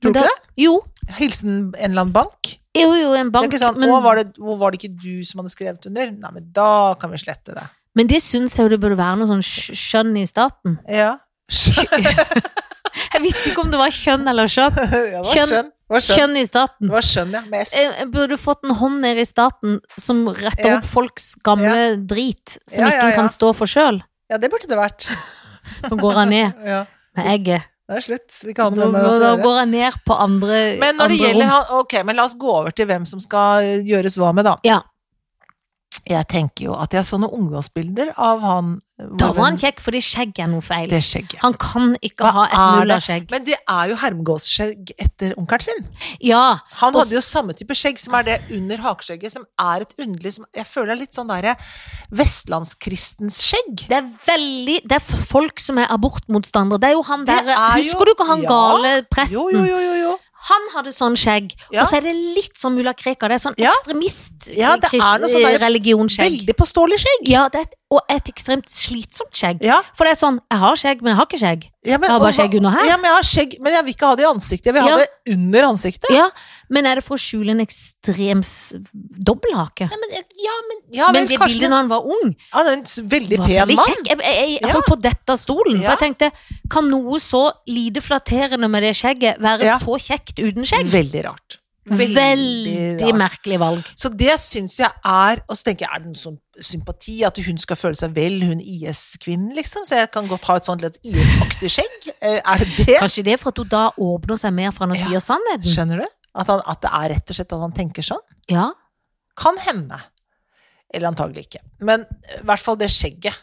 Speaker 2: Tror du
Speaker 1: Men
Speaker 2: ikke
Speaker 1: da- Jo.
Speaker 2: det? Hilsen en eller annen bank.
Speaker 1: Jo, jo, en
Speaker 2: Det
Speaker 1: bank.
Speaker 2: er ikke sånn,
Speaker 1: men,
Speaker 2: å, var det, hvor var det ikke du som hadde skrevet under? Nei, men da kan vi slette det.
Speaker 1: men det syns jeg jo det burde være noe sånn skj- skjønn i staten.
Speaker 2: Ja.
Speaker 1: Jeg visste ikke om det var kjønn eller skjønn.
Speaker 2: ja, det var
Speaker 1: Skjønn.
Speaker 2: skjønn. Det var skjønn.
Speaker 1: Kjønn Eh, i staten.
Speaker 2: Det var skjønn, ja. Med S.
Speaker 1: Jeg jeg burde fått en hånd ned i staten som retter
Speaker 2: Ja.
Speaker 1: opp folks gamle drit, som
Speaker 2: Ja,
Speaker 1: ikke
Speaker 2: ja,
Speaker 1: en
Speaker 2: ja.
Speaker 1: kan stå for sjøl.
Speaker 2: Ja, det burde det vært.
Speaker 1: Så går han ned
Speaker 2: Ja.
Speaker 1: med egget.
Speaker 2: Da er det slutt. Vi kan ha
Speaker 1: Da,
Speaker 2: noe med
Speaker 1: da,
Speaker 2: oss å
Speaker 1: da
Speaker 2: gjøre.
Speaker 1: går han ned på andre,
Speaker 2: Men når det
Speaker 1: andre
Speaker 2: gjelder
Speaker 1: rom.
Speaker 2: han Ok, men la oss gå over til hvem som skal eh, gjøres hva med, da.
Speaker 1: Ja.
Speaker 2: Jeg tenker jo at jeg så noen ungdomsbilder av han eh,
Speaker 1: Da
Speaker 2: vår
Speaker 1: var han
Speaker 2: venn-
Speaker 1: kjekk, fordi skjegget er noe feil.
Speaker 2: Det skjegget.
Speaker 1: Han kan ikke
Speaker 2: Hva
Speaker 1: ha et
Speaker 2: er
Speaker 1: nulla
Speaker 2: det?
Speaker 1: skjegg.
Speaker 2: Men det er jo hermegåsskjegg etter onkelen sin.
Speaker 1: Ja,
Speaker 2: Han
Speaker 1: Og
Speaker 2: hadde jo samme type skjegg som er det under hakeskjegget, som er et underlig som Jeg føler det er litt sånn derre vestlandskristens skjegg.
Speaker 1: det er veldig Det er folk som er abortmotstandere. Det er jo han
Speaker 2: Det
Speaker 1: der
Speaker 2: er jo-
Speaker 1: Husker du ikke han
Speaker 2: Ja.
Speaker 1: gale presten?
Speaker 2: Jo, jo, jo, jo, jo.
Speaker 1: Han hadde sånn skjegg,
Speaker 2: Ja.
Speaker 1: og så er det litt sånn mulla Krekar. Det er sånn
Speaker 2: Ja. Ja, det er noe sånn der-
Speaker 1: ekstremist-religionsskjegg.
Speaker 2: Veldig påståelig skjegg.
Speaker 1: Ja, det er et, og et ekstremt slitsomt skjegg.
Speaker 2: Ja,
Speaker 1: For det er sånn, jeg har skjegg, men jeg har ikke skjegg.
Speaker 2: ja, men,
Speaker 1: Jeg har bare
Speaker 2: og hva-
Speaker 1: skjegg under her.
Speaker 2: Ja, men jeg har skjegg, men jeg vil ikke ha det i ansiktet. Jeg vil
Speaker 1: Ja.
Speaker 2: ha det under ansiktet.
Speaker 1: Ja, Men er det for å skjule en ekstrem s- dobbelthake?
Speaker 2: Nei, men, eh, ja, men, ja,
Speaker 1: Men
Speaker 2: vel,
Speaker 1: det
Speaker 2: kanskje
Speaker 1: bildet når han var ung,
Speaker 2: Han er en s- veldig
Speaker 1: var
Speaker 2: pen
Speaker 1: veldig
Speaker 2: mann.
Speaker 1: kjekk. Jeg, jeg, jeg
Speaker 2: Ja.
Speaker 1: holdt på å dette av stolen, for
Speaker 2: Ja.
Speaker 1: jeg tenkte, kan noe så lite flatterende med det skjegget være
Speaker 2: Ja.
Speaker 1: så kjekt uten skjegg?
Speaker 2: Veldig rart.
Speaker 1: Veldig, merkelig valg.
Speaker 2: Så det syns jeg er Og så tenker jeg, er det noen sånn sympati at hun skal føle seg vel, hun IS-kvinnen, liksom? Så jeg kan godt ha et sånt litt IS-aktig skjegg? Eh, Er det det?
Speaker 1: Kanskje det er for at hun da åpner seg mer for han og
Speaker 2: Ja.
Speaker 1: sier sannheten?
Speaker 2: Skjønner du? At, han, at det er rett og slett at han tenker sånn?
Speaker 1: Ja.
Speaker 2: Kan hende. Eller antagelig ikke. Men eh, i hvert fall det skjegget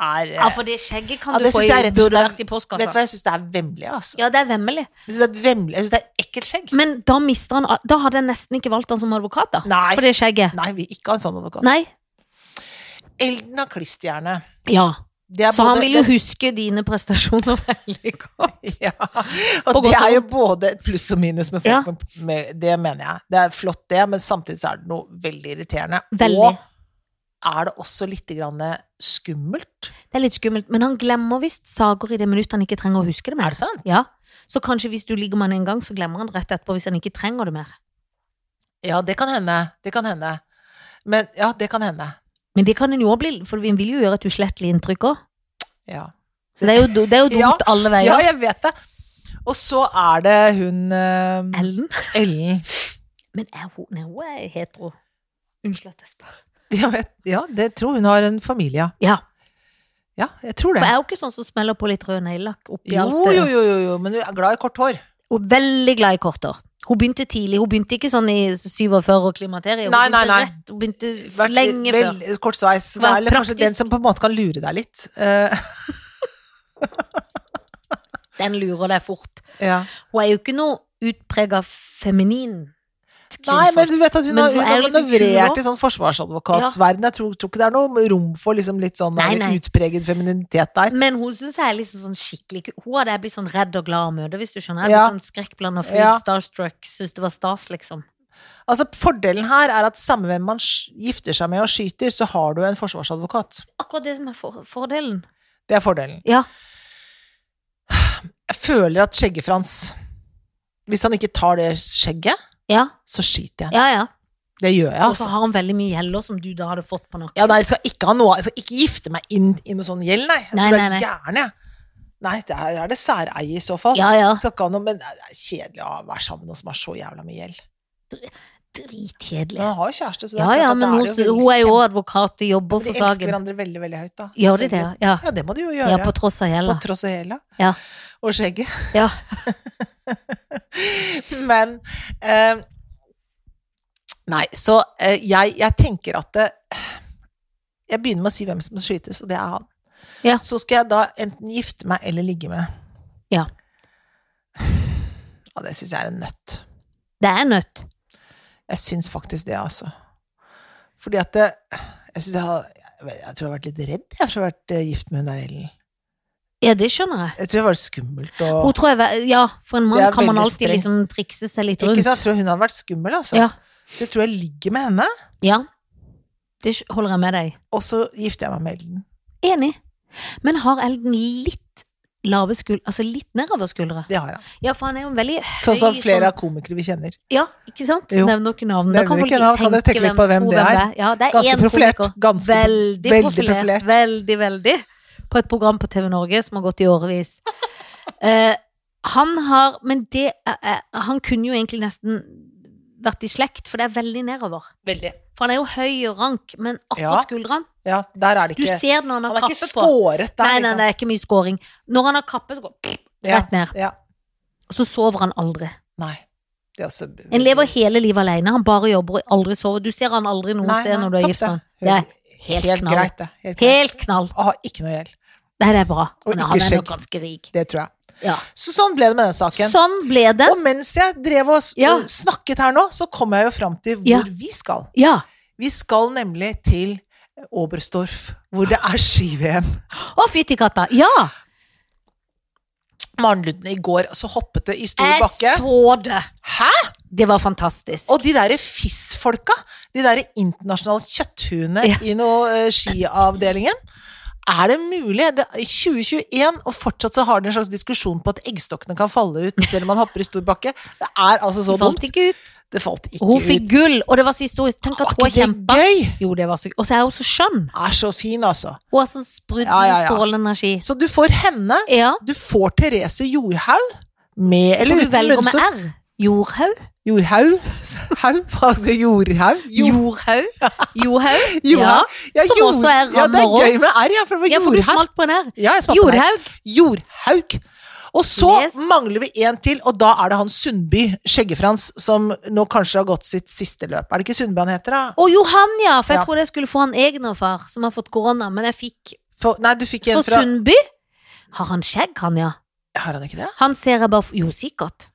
Speaker 2: er eh,
Speaker 1: ja, for det skjegget kan
Speaker 2: Ja,
Speaker 1: du
Speaker 2: det
Speaker 1: få
Speaker 2: synes
Speaker 1: i,
Speaker 2: jeg rett og
Speaker 1: burde
Speaker 2: slett er-
Speaker 1: vært i
Speaker 2: Vet du
Speaker 1: postkassa.
Speaker 2: hva, jeg syns det er vemmelig, altså.
Speaker 1: Ja, Mm. det er vemmelig.
Speaker 2: Jeg syns det er et vemmelig, jeg synes det er et ekkelt skjegg.
Speaker 1: Men da mister han Da hadde jeg nesten ikke valgt han som advokat, da.
Speaker 2: Nei.
Speaker 1: For det skjegget.
Speaker 2: Nei, vi vil ikke ha en sånn advokat.
Speaker 1: Nei.
Speaker 2: Elden av klisterhjerne.
Speaker 1: Ja.
Speaker 2: Det er
Speaker 1: Så han
Speaker 2: både-
Speaker 1: vil jo huske dine prestasjoner veldig godt.
Speaker 2: Ja,
Speaker 1: På godt
Speaker 2: og det
Speaker 1: og
Speaker 2: er jo både et pluss og minus med folk
Speaker 1: Ja.
Speaker 2: med, med Det mener jeg. Det er flott, det, men samtidig så er det noe veldig irriterende.
Speaker 1: Veldig.
Speaker 2: Og er det også litt grann skummelt?
Speaker 1: Det er litt skummelt, men han glemmer visst saker i det minuttet han ikke trenger å huske det
Speaker 2: Er
Speaker 1: mer.
Speaker 2: det sant?
Speaker 1: Ja. Så kanskje hvis du ligger med han en gang, så glemmer han rett etterpå hvis han ikke trenger det mer.
Speaker 2: Ja, det kan hende. Det kan hende. Men ja, det kan hende.
Speaker 1: Men det kan en jo også bli, for en vil jo gjøre et uslettelig inntrykk òg.
Speaker 2: Ja.
Speaker 1: Så det er jo, do- det er jo
Speaker 2: Ja.
Speaker 1: dumt alle veier.
Speaker 2: ja, jeg vet det. Og så er det hun eh,
Speaker 1: Ellen.
Speaker 2: Ellen.
Speaker 1: Men er hun, nei, hun er hetero. Unnskyld at jeg spør.
Speaker 2: Jeg vet, ja, det tror hun har en familie.
Speaker 1: Ja.
Speaker 2: Ja, jeg tror
Speaker 1: For
Speaker 2: det.
Speaker 1: jeg er jo ikke sånn som smeller på litt rød neglelakk oppi
Speaker 2: Jo,
Speaker 1: alt eh, det.
Speaker 2: jo, jo, jo, jo, men hun er glad i kort hår.
Speaker 1: Hun er veldig glad i korter. Hun begynte tidlig. Hun begynte ikke sånn i 47 og klimakteriet. Hun
Speaker 2: Nei, nei,
Speaker 1: begynte
Speaker 2: nei.
Speaker 1: rett. Hun begynte
Speaker 2: Vært
Speaker 1: lenge
Speaker 2: vel- Kort sveis. Det
Speaker 1: Vær
Speaker 2: er kanskje
Speaker 1: praktisk.
Speaker 2: den som på en måte kan lure deg litt. Eh,
Speaker 1: før. Den lurer deg fort.
Speaker 2: ja.
Speaker 1: Hun er jo ikke noe utprega feminin.
Speaker 2: Nei, men
Speaker 1: kvinnfolk.
Speaker 2: du vet at hun
Speaker 1: Men
Speaker 2: har,
Speaker 1: hun
Speaker 2: hun
Speaker 1: er
Speaker 2: har
Speaker 1: jo liksom kul
Speaker 2: manøvrert
Speaker 1: også.
Speaker 2: i sånn forsvarsadvokatsverden. Jeg tror, tror ikke det er noe rom for liksom litt sånn
Speaker 1: Nei,
Speaker 2: eh,
Speaker 1: nei.
Speaker 2: utpreget femininitet der.
Speaker 1: Men hun syns jeg er liksom sånn skikkelig ku- Hun hadde jeg blitt sånn redd og glad av å møte, hvis du skjønner. Jeg er
Speaker 2: Ja.
Speaker 1: litt sånn skrekkblanda fryd,
Speaker 2: Ja.
Speaker 1: starstruck, syns det var stas, liksom.
Speaker 2: Altså, fordelen her er at samme hvem man sk- gifter seg med og skyter, så har du en forsvarsadvokat.
Speaker 1: Akkurat det som er for fordelen.
Speaker 2: Det er fordelen.
Speaker 1: Ja.
Speaker 2: Jeg føler at Skjegge-Frans Hvis han ikke tar det skjegget,
Speaker 1: Ja,
Speaker 2: så skyter jeg.
Speaker 1: ja. ja.
Speaker 2: Det gjør jeg,
Speaker 1: Og så
Speaker 2: altså.
Speaker 1: har han veldig mye gjeller som du da hadde fått på nakken.
Speaker 2: Ja, nei, jeg skal ikke ha noe Jeg skal ikke gifte meg inn i noe sånn gjeld, nei. Jeg
Speaker 1: Nei,
Speaker 2: tror jeg
Speaker 1: nei,
Speaker 2: er
Speaker 1: nei.
Speaker 2: gæren, jeg. Nei, det er, er det særeie i så fall.
Speaker 1: ja, ja.
Speaker 2: Jeg skal ikke ha noe, men det er kjedelig å være sammen med noen som har så jævla mye gjeld. Men
Speaker 1: Dritkjedelig.
Speaker 2: han har jo kjæreste, så det er
Speaker 1: Ja, ja,
Speaker 2: klart at
Speaker 1: men
Speaker 2: da
Speaker 1: hun,
Speaker 2: er det
Speaker 1: hun er jo
Speaker 2: veldig
Speaker 1: også advokat, de jobber
Speaker 2: kjempe-
Speaker 1: for
Speaker 2: De elsker
Speaker 1: saken.
Speaker 2: hverandre veldig, veldig høyt, da.
Speaker 1: Gjør de det,
Speaker 2: Selvfølgelig.
Speaker 1: ja?
Speaker 2: Ja, det må de jo gjøre.
Speaker 1: Ja, på tross av
Speaker 2: På
Speaker 1: gjelda.
Speaker 2: tross av hele.
Speaker 1: Ja.
Speaker 2: Og skjegget.
Speaker 1: Ja.
Speaker 2: Men eh, Nei, så eh, jeg, jeg tenker at det, Jeg begynner med å si hvem som skytes, og det er han.
Speaker 1: Ja.
Speaker 2: Så skal jeg da enten gifte meg eller ligge med.
Speaker 1: Ja.
Speaker 2: Ja, det syns jeg er en nøtt.
Speaker 1: Det er nødt.
Speaker 2: Jeg syns faktisk det, altså. Fordi at det, jeg, synes jeg, har, jeg tror jeg har vært litt redd jeg, for å ha vært eh, gift med hun der Ellen.
Speaker 1: Ja, det skjønner jeg.
Speaker 2: Jeg tror det var skummelt å
Speaker 1: Hun tror jeg, var- ja, for en
Speaker 2: Det
Speaker 1: mann
Speaker 2: er
Speaker 1: kan man
Speaker 2: veldig
Speaker 1: alltid
Speaker 2: strengt.
Speaker 1: liksom trikse seg litt
Speaker 2: Ikke sant?
Speaker 1: rundt.
Speaker 2: Jeg tror hun hadde vært skummel, altså.
Speaker 1: Ja.
Speaker 2: Så jeg tror jeg ligger med henne.
Speaker 1: Ja. Det sk- holder jeg med deg.
Speaker 2: Og så gifter jeg meg med Elden.
Speaker 1: Enig. Men har Elden litt lave skuldre, altså litt nedover skuldre?
Speaker 2: Det har han.
Speaker 1: Ja, for han er jo en veldig høy
Speaker 2: Sånn som flere av komikere vi kjenner.
Speaker 1: Ja, ikke sant?
Speaker 2: Jo.
Speaker 1: Nevner dere navn.
Speaker 2: Nevner ikke navn, kan dere tenke litt på hvem
Speaker 1: tro
Speaker 2: det er?
Speaker 1: Ja, det er
Speaker 2: Ganske
Speaker 1: én
Speaker 2: profilert.
Speaker 1: komiker.
Speaker 2: Ganske-
Speaker 1: veldig,
Speaker 2: veldig
Speaker 1: profilert.
Speaker 2: profilert.
Speaker 1: Veldig, veldig. På et program på TV Norge som har gått i årevis. Eh, han har Men det er, er- Han kunne jo egentlig nesten vært i slekt, for det er veldig nedover.
Speaker 2: Veldig.
Speaker 1: For han er jo høy og rank, men
Speaker 2: Ja.
Speaker 1: akkurat skuldrene
Speaker 2: Ja, der er det
Speaker 1: Du
Speaker 2: ikke
Speaker 1: ser det når han har
Speaker 2: Han er
Speaker 1: kappe
Speaker 2: ikke
Speaker 1: på.
Speaker 2: skåret der,
Speaker 1: Nei, nei,
Speaker 2: liksom.
Speaker 1: det er ikke mye scoring. Når han har kappe, så går
Speaker 2: Ja,
Speaker 1: rett ned.
Speaker 2: ja.
Speaker 1: Så sover han aldri.
Speaker 2: Nei. Det er også
Speaker 1: En lever hele livet alene. Han bare jobber og aldri sover. Du ser han aldri noe
Speaker 2: Nei,
Speaker 1: sted
Speaker 2: nei,
Speaker 1: når du er
Speaker 2: topp
Speaker 1: gift med han.
Speaker 2: Det
Speaker 1: Det
Speaker 2: Høres
Speaker 1: er helt,
Speaker 2: helt
Speaker 1: knall.
Speaker 2: greit, det. Helt greit.
Speaker 1: Helt knall.
Speaker 2: Og har ikke noe gjeld.
Speaker 1: Nei, det er bra.
Speaker 2: Og
Speaker 1: Men
Speaker 2: ikke
Speaker 1: han er
Speaker 2: skjegg.
Speaker 1: nok ganske rik.
Speaker 2: Det tror jeg.
Speaker 1: Ja.
Speaker 2: Så sånn ble det med den saken.
Speaker 1: Sånn ble det.
Speaker 2: Og mens jeg drev og s-
Speaker 1: Ja.
Speaker 2: snakket her nå, så kom jeg jo fram til hvor
Speaker 1: Ja.
Speaker 2: vi skal.
Speaker 1: Ja.
Speaker 2: Vi skal nemlig til Oberstdorf, hvor det er ski-VM.
Speaker 1: Å, fytti katta. Ja!
Speaker 2: Maren Lunden i går så hoppet det i stor
Speaker 1: Jeg
Speaker 2: bakke.
Speaker 1: så det.
Speaker 2: Hæ?!
Speaker 1: Det var fantastisk.
Speaker 2: Og de derre FIS-folka, de derre internasjonale kjøtthuene
Speaker 1: Ja.
Speaker 2: i noe eh, skiavdelingen. Er det mulig? Det, I 2021, og fortsatt så har de en slags diskusjon på at eggstokkene kan falle ut selv om man hopper i stor bakke. Det er altså så
Speaker 1: Hun falt
Speaker 2: dumt.
Speaker 1: ikke ut.
Speaker 2: Det falt ikke
Speaker 1: Og hun fikk
Speaker 2: ut.
Speaker 1: gull, og det var så historisk. Tenk at
Speaker 2: Var
Speaker 1: hun har
Speaker 2: ikke
Speaker 1: kjempa.
Speaker 2: det gøy?
Speaker 1: Jo, det var så Og så er hun så skjønn.
Speaker 2: Er så fin, altså.
Speaker 1: Hun har så sprudlende,
Speaker 2: Ja, ja, ja.
Speaker 1: strålende energi.
Speaker 2: Så du får henne.
Speaker 1: Ja.
Speaker 2: Du får Therese Jorhaug. Med eller
Speaker 1: For du
Speaker 2: uten
Speaker 1: velger med
Speaker 2: lønnsord.
Speaker 1: R. Jordhaug.
Speaker 2: Jorhaug? Haug? Hva skal jeg- Jorhaug? Jo-
Speaker 1: Jordhaug. Johaug. Ja.
Speaker 2: Jorhaug. Ja,
Speaker 1: Som
Speaker 2: jord-
Speaker 1: også er
Speaker 2: Ja, det er
Speaker 1: rammer
Speaker 2: gøy med R, ja. For det var
Speaker 1: ja, for du
Speaker 2: Jorhaug.
Speaker 1: smalt på en R.
Speaker 2: Ja, jeg smatte meg.
Speaker 1: Jordhaug.
Speaker 2: Jordhaug. Og så
Speaker 1: Yes.
Speaker 2: mangler vi en til, og da er det han Sundby, Skjeggefrans, som nå kanskje har gått sitt siste løp. Er det ikke Sundby han heter, da?
Speaker 1: Og Johan, ja. For jeg
Speaker 2: Ja.
Speaker 1: trodde jeg skulle få han egen og far, som har fått korona. Men jeg fikk
Speaker 2: For, nei, du fikk en
Speaker 1: For
Speaker 2: fra
Speaker 1: Sundby? Har han skjegg, han, ja?
Speaker 2: Har han ikke det?
Speaker 1: Han ser jeg bare f- Jo, sikkert.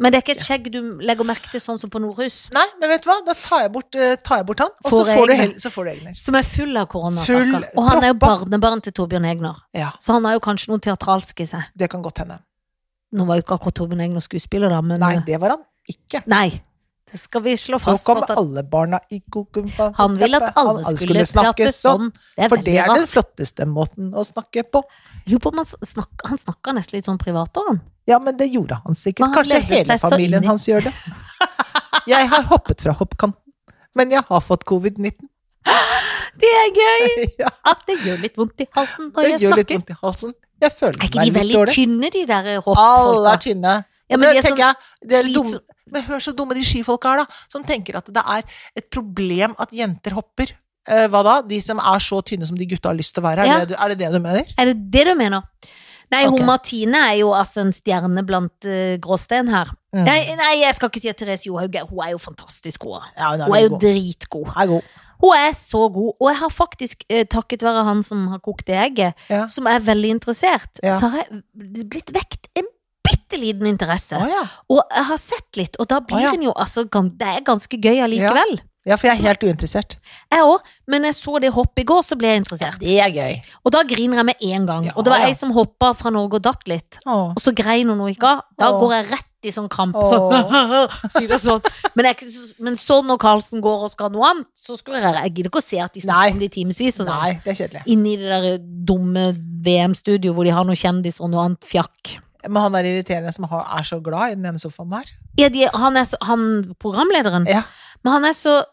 Speaker 1: Men det er ikke et skjegg du legger merke til, sånn som på Nordhus.
Speaker 2: Nei, men vet du hva, da tar jeg bort, eh, tar jeg bort han, og så
Speaker 1: Får jeg
Speaker 2: får, du
Speaker 1: egne.
Speaker 2: hel, så får du egne.
Speaker 1: Som er full av korona.
Speaker 2: Full
Speaker 1: stakkar. Og han er jo
Speaker 2: proppa.
Speaker 1: barnebarn til Torbjørn Egner,
Speaker 2: Ja,
Speaker 1: så han har jo kanskje noe teatralsk i seg.
Speaker 2: det kan godt hende.
Speaker 1: Nå var jo ikke akkurat Torbjørn Egner skuespiller, da, men eh,
Speaker 2: Nei, det var han ikke.
Speaker 1: Nei. Det skal vi slå
Speaker 2: Nå
Speaker 1: fast.
Speaker 2: kom
Speaker 1: at han-
Speaker 2: alle barna i kukumpa
Speaker 1: han vil at alle skulle prate sånn. Det er
Speaker 2: For det
Speaker 1: veldig
Speaker 2: er den
Speaker 1: rart.
Speaker 2: flotteste måten å snakke på.
Speaker 1: Jeg Lurer på om han snakker, han snakker nesten litt sånn privat òg, han.
Speaker 2: Ja, men det gjorde han sikkert.
Speaker 1: Men han
Speaker 2: Kanskje
Speaker 1: levde
Speaker 2: hele
Speaker 1: seg så inn
Speaker 2: familien
Speaker 1: i-
Speaker 2: hans gjør det. Jeg har hoppet fra hoppkanten, men jeg har fått covid-19.
Speaker 1: Det er gøy!
Speaker 2: Ja,
Speaker 1: At det gjør litt vondt i halsen når
Speaker 2: det
Speaker 1: jeg
Speaker 2: gjør litt
Speaker 1: snakker.
Speaker 2: vondt i halsen. Jeg føler
Speaker 1: Er ikke
Speaker 2: meg
Speaker 1: de
Speaker 2: litt
Speaker 1: veldig
Speaker 2: dårlig.
Speaker 1: tynne, de der
Speaker 2: Alle er
Speaker 1: hoppfolka?
Speaker 2: tynne.
Speaker 1: Ja, men
Speaker 2: Men
Speaker 1: de er sånn
Speaker 2: tenker jeg, det er dumme,
Speaker 1: slitsom-
Speaker 2: men hør så dumme de skifolka er, da. Som tenker at det er et problem at jenter hopper. Eh, hva da? De som er så tynne som de gutta har lyst til å være. Er,
Speaker 1: Ja.
Speaker 2: det, du- er det det du mener?
Speaker 1: Er det det du mener? Nei,
Speaker 2: Ok.
Speaker 1: hun Martine er jo altså en stjerne blant eh, gråstein her.
Speaker 2: Mm.
Speaker 1: Nei, nei, jeg skal ikke si at Therese Johaug er Hun er jo fantastisk god.
Speaker 2: Ja, hun er,
Speaker 1: Hun er
Speaker 2: veldig
Speaker 1: jo
Speaker 2: god.
Speaker 1: dritgod.
Speaker 2: Hun er god.
Speaker 1: Hun er så god, og jeg har faktisk, eh, takket være han som har kokt det egget,
Speaker 2: Ja.
Speaker 1: som er veldig interessert,
Speaker 2: Ja.
Speaker 1: så har jeg blitt vekt en bitte liten interesse.
Speaker 2: Å ja.
Speaker 1: Og jeg har sett litt, og da blir
Speaker 2: ja.
Speaker 1: en jo altså gan- Det er ganske gøy allikevel.
Speaker 2: ja, for jeg
Speaker 1: Så-
Speaker 2: er helt uinteressert.
Speaker 1: Jeg òg, men jeg så det hoppet i går, så ble jeg interessert.
Speaker 2: Det er gøy.
Speaker 1: Og da griner jeg med en gang.
Speaker 2: Ja,
Speaker 1: og det var
Speaker 2: ja.
Speaker 1: ei som hoppa fra Norge og datt litt.
Speaker 2: Åh.
Speaker 1: og så grein hun og ikke av. Da
Speaker 2: Åh.
Speaker 1: går jeg rett i sånn kramp.
Speaker 2: Åh.
Speaker 1: Sånn, sier jeg sånn. Men, jeg, er ikke så- men så når Karlsen går og skal ha noe annet, så skulle jeg Jeg gidder ikke å se at de
Speaker 2: Nei.
Speaker 1: snakker om det i timevis. og sånn.
Speaker 2: Nei, det er kjedelig.
Speaker 1: Inni det der dumme VM-studio hvor de har noen kjendiser og noe annet fjakk.
Speaker 2: Men han er irriterende som har, er så glad i den ene sofaen der.
Speaker 1: Ja, de, han, er så, han programlederen,
Speaker 2: Ja.
Speaker 1: men han er så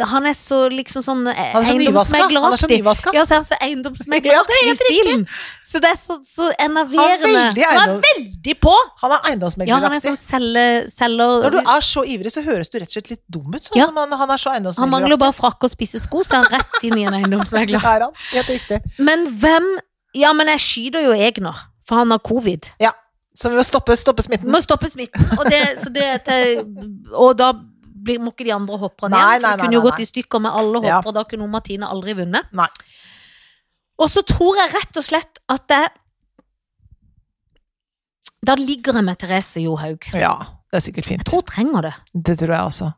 Speaker 1: han er så liksom sånn eh,
Speaker 2: Han er så nyvaska. Han er så
Speaker 1: eiendomsmegleraktig.
Speaker 2: nyvaska.
Speaker 1: Ja, så er han så eiendomsmegleraktig i stilen. Så det er så, så enerverende.
Speaker 2: veldig
Speaker 1: Han
Speaker 2: eiendom-
Speaker 1: er veldig på!
Speaker 2: Han er
Speaker 1: Ja, han er
Speaker 2: eiendomsmegleraktig.
Speaker 1: sånn selge- selger
Speaker 2: Når du er så ivrig, så høres du rett og slett litt dum ut. Sånn
Speaker 1: Ja.
Speaker 2: som han, han er så
Speaker 1: Han
Speaker 2: eiendomsmegleraktig.
Speaker 1: mangler bare frakk og spisse sko, så er han rett inn i en
Speaker 2: Det
Speaker 1: eiendomsmegler.
Speaker 2: er han. Helt riktig.
Speaker 1: Men hvem Ja, men jeg skyter jo Egner, for han har covid.
Speaker 2: Så vi må stoppe, stoppe
Speaker 1: Vi
Speaker 2: smitten.
Speaker 1: må stoppe smitten, og, det, så det, er til- og da blir, må ikke de andre hoppe ned.
Speaker 2: Nei,
Speaker 1: for
Speaker 2: nei,
Speaker 1: det
Speaker 2: nei,
Speaker 1: kunne jo
Speaker 2: nei,
Speaker 1: gått i stykker med alle
Speaker 2: Ja.
Speaker 1: hopper, og da kunne hun Martine aldri vunnet.
Speaker 2: Nei.
Speaker 1: Og så tror jeg rett og slett at det Da ligger jeg med Therese Johaug. Jeg
Speaker 2: Ja, det er sikkert fint.
Speaker 1: tror hun trenger det.
Speaker 2: Det tror jeg også.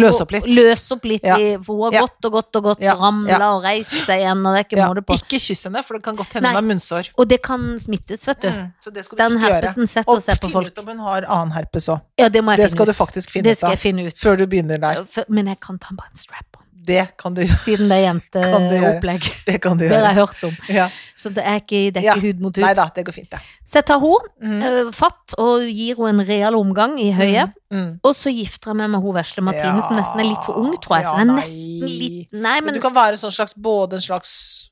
Speaker 2: Løs opp litt.
Speaker 1: Løs opp litt,
Speaker 2: Ja.
Speaker 1: i- for hun har
Speaker 2: Ja.
Speaker 1: gått og gått og gått
Speaker 2: Ja.
Speaker 1: og ramla og reist seg igjen, og det er ikke
Speaker 2: Ja.
Speaker 1: måte på.
Speaker 2: Ikke kyss henne, for det kan godt hende
Speaker 1: Nei.
Speaker 2: hun har munnsår.
Speaker 1: Og det kan smittes, vet du.
Speaker 2: Mm, Så det skal du
Speaker 1: Den
Speaker 2: ikke gjøre.
Speaker 1: herpesen setter
Speaker 2: Og
Speaker 1: seg på
Speaker 2: finn
Speaker 1: folk.
Speaker 2: ut om hun har annen herpes òg.
Speaker 1: Ja, det må jeg
Speaker 2: Det
Speaker 1: finne
Speaker 2: skal du
Speaker 1: ut.
Speaker 2: faktisk finne
Speaker 1: det
Speaker 2: ut
Speaker 1: skal
Speaker 2: av
Speaker 1: jeg finne ut.
Speaker 2: før du begynner der.
Speaker 1: F- Men jeg kan ta bare en strap-on.
Speaker 2: Det kan du gjøre.
Speaker 1: siden det er
Speaker 2: Kan du gjøre.
Speaker 1: jenteopplegg.
Speaker 2: Det kan du
Speaker 1: Det har
Speaker 2: gjøre.
Speaker 1: jeg hørt om.
Speaker 2: Ja.
Speaker 1: Så det er ikke, det er
Speaker 2: Ja.
Speaker 1: ikke hud mot
Speaker 2: Nei
Speaker 1: hud.
Speaker 2: da, det går fint, det.
Speaker 1: Så jeg tar henne
Speaker 2: Mm.
Speaker 1: eh, fatt og gir henne en real omgang i høyet.
Speaker 2: Mm.
Speaker 1: Og så gifter jeg meg med hun vesle Martine, som nesten er litt for ung, tror jeg. Så
Speaker 2: Ja,
Speaker 1: hun er
Speaker 2: nei.
Speaker 1: nesten litt Nei,
Speaker 2: Men
Speaker 1: men
Speaker 2: du kan være en sånn slags både en slags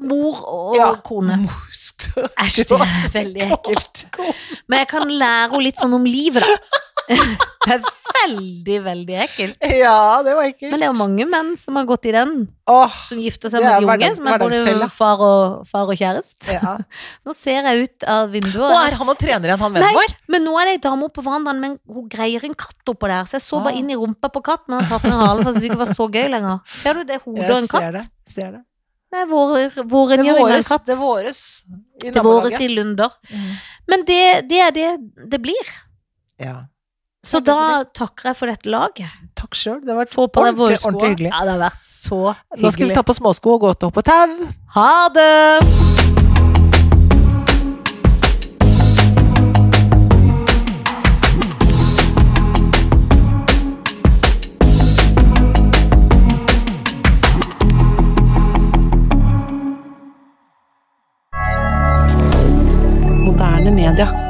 Speaker 1: mor og
Speaker 2: Ja.
Speaker 1: kone.
Speaker 2: Skråstrek.
Speaker 1: Æsj, det er veldig ekkelt. Men jeg kan lære henne litt sånn om livet, da. Det er veldig, veldig ekkelt.
Speaker 2: Ja, det var ekkelt.
Speaker 1: Men det er jo mange menn som har gått i den,
Speaker 2: Åh,
Speaker 1: som gifter seg
Speaker 2: Det
Speaker 1: med
Speaker 2: er
Speaker 1: de unge.
Speaker 2: hverdags-
Speaker 1: Som er både
Speaker 2: hverdagsfelle.
Speaker 1: far og, far og kjæreste.
Speaker 2: ja.
Speaker 1: Nå ser jeg ut av vinduet.
Speaker 2: Og er han og trener igjen, han
Speaker 1: Nei.
Speaker 2: vennen vår?
Speaker 1: Men nå er det ei dame oppe på verandaen, men hun greier en katt oppå der. Så jeg så bare
Speaker 2: Ah.
Speaker 1: inn i rumpa på katten, men han tatt ned halen, for jeg syntes ikke det var så gøy lenger. Ser du det er hodet av en katt?
Speaker 2: det. Ser det.
Speaker 1: Det er vår, vår
Speaker 2: Det
Speaker 1: rengjøring av en
Speaker 2: våres,
Speaker 1: katt.
Speaker 2: det våres i
Speaker 1: Det våres
Speaker 2: nabolaget.
Speaker 1: i lunder.
Speaker 2: Mm.
Speaker 1: Men det, det er det det blir.
Speaker 2: Ja.
Speaker 1: Så
Speaker 2: Ja, det er
Speaker 1: da takker jeg for dette laget.
Speaker 2: Takk sjøl, det har vært
Speaker 1: Få på deg
Speaker 2: ordentlig,
Speaker 1: våre sko.
Speaker 2: ordentlig hyggelig.
Speaker 1: Ja, det har vært så
Speaker 2: Nå skal vi
Speaker 1: hyggelig.
Speaker 2: ta på småsko og gå til hopp og tau.
Speaker 1: Ha det!
Speaker 4: Moderne media.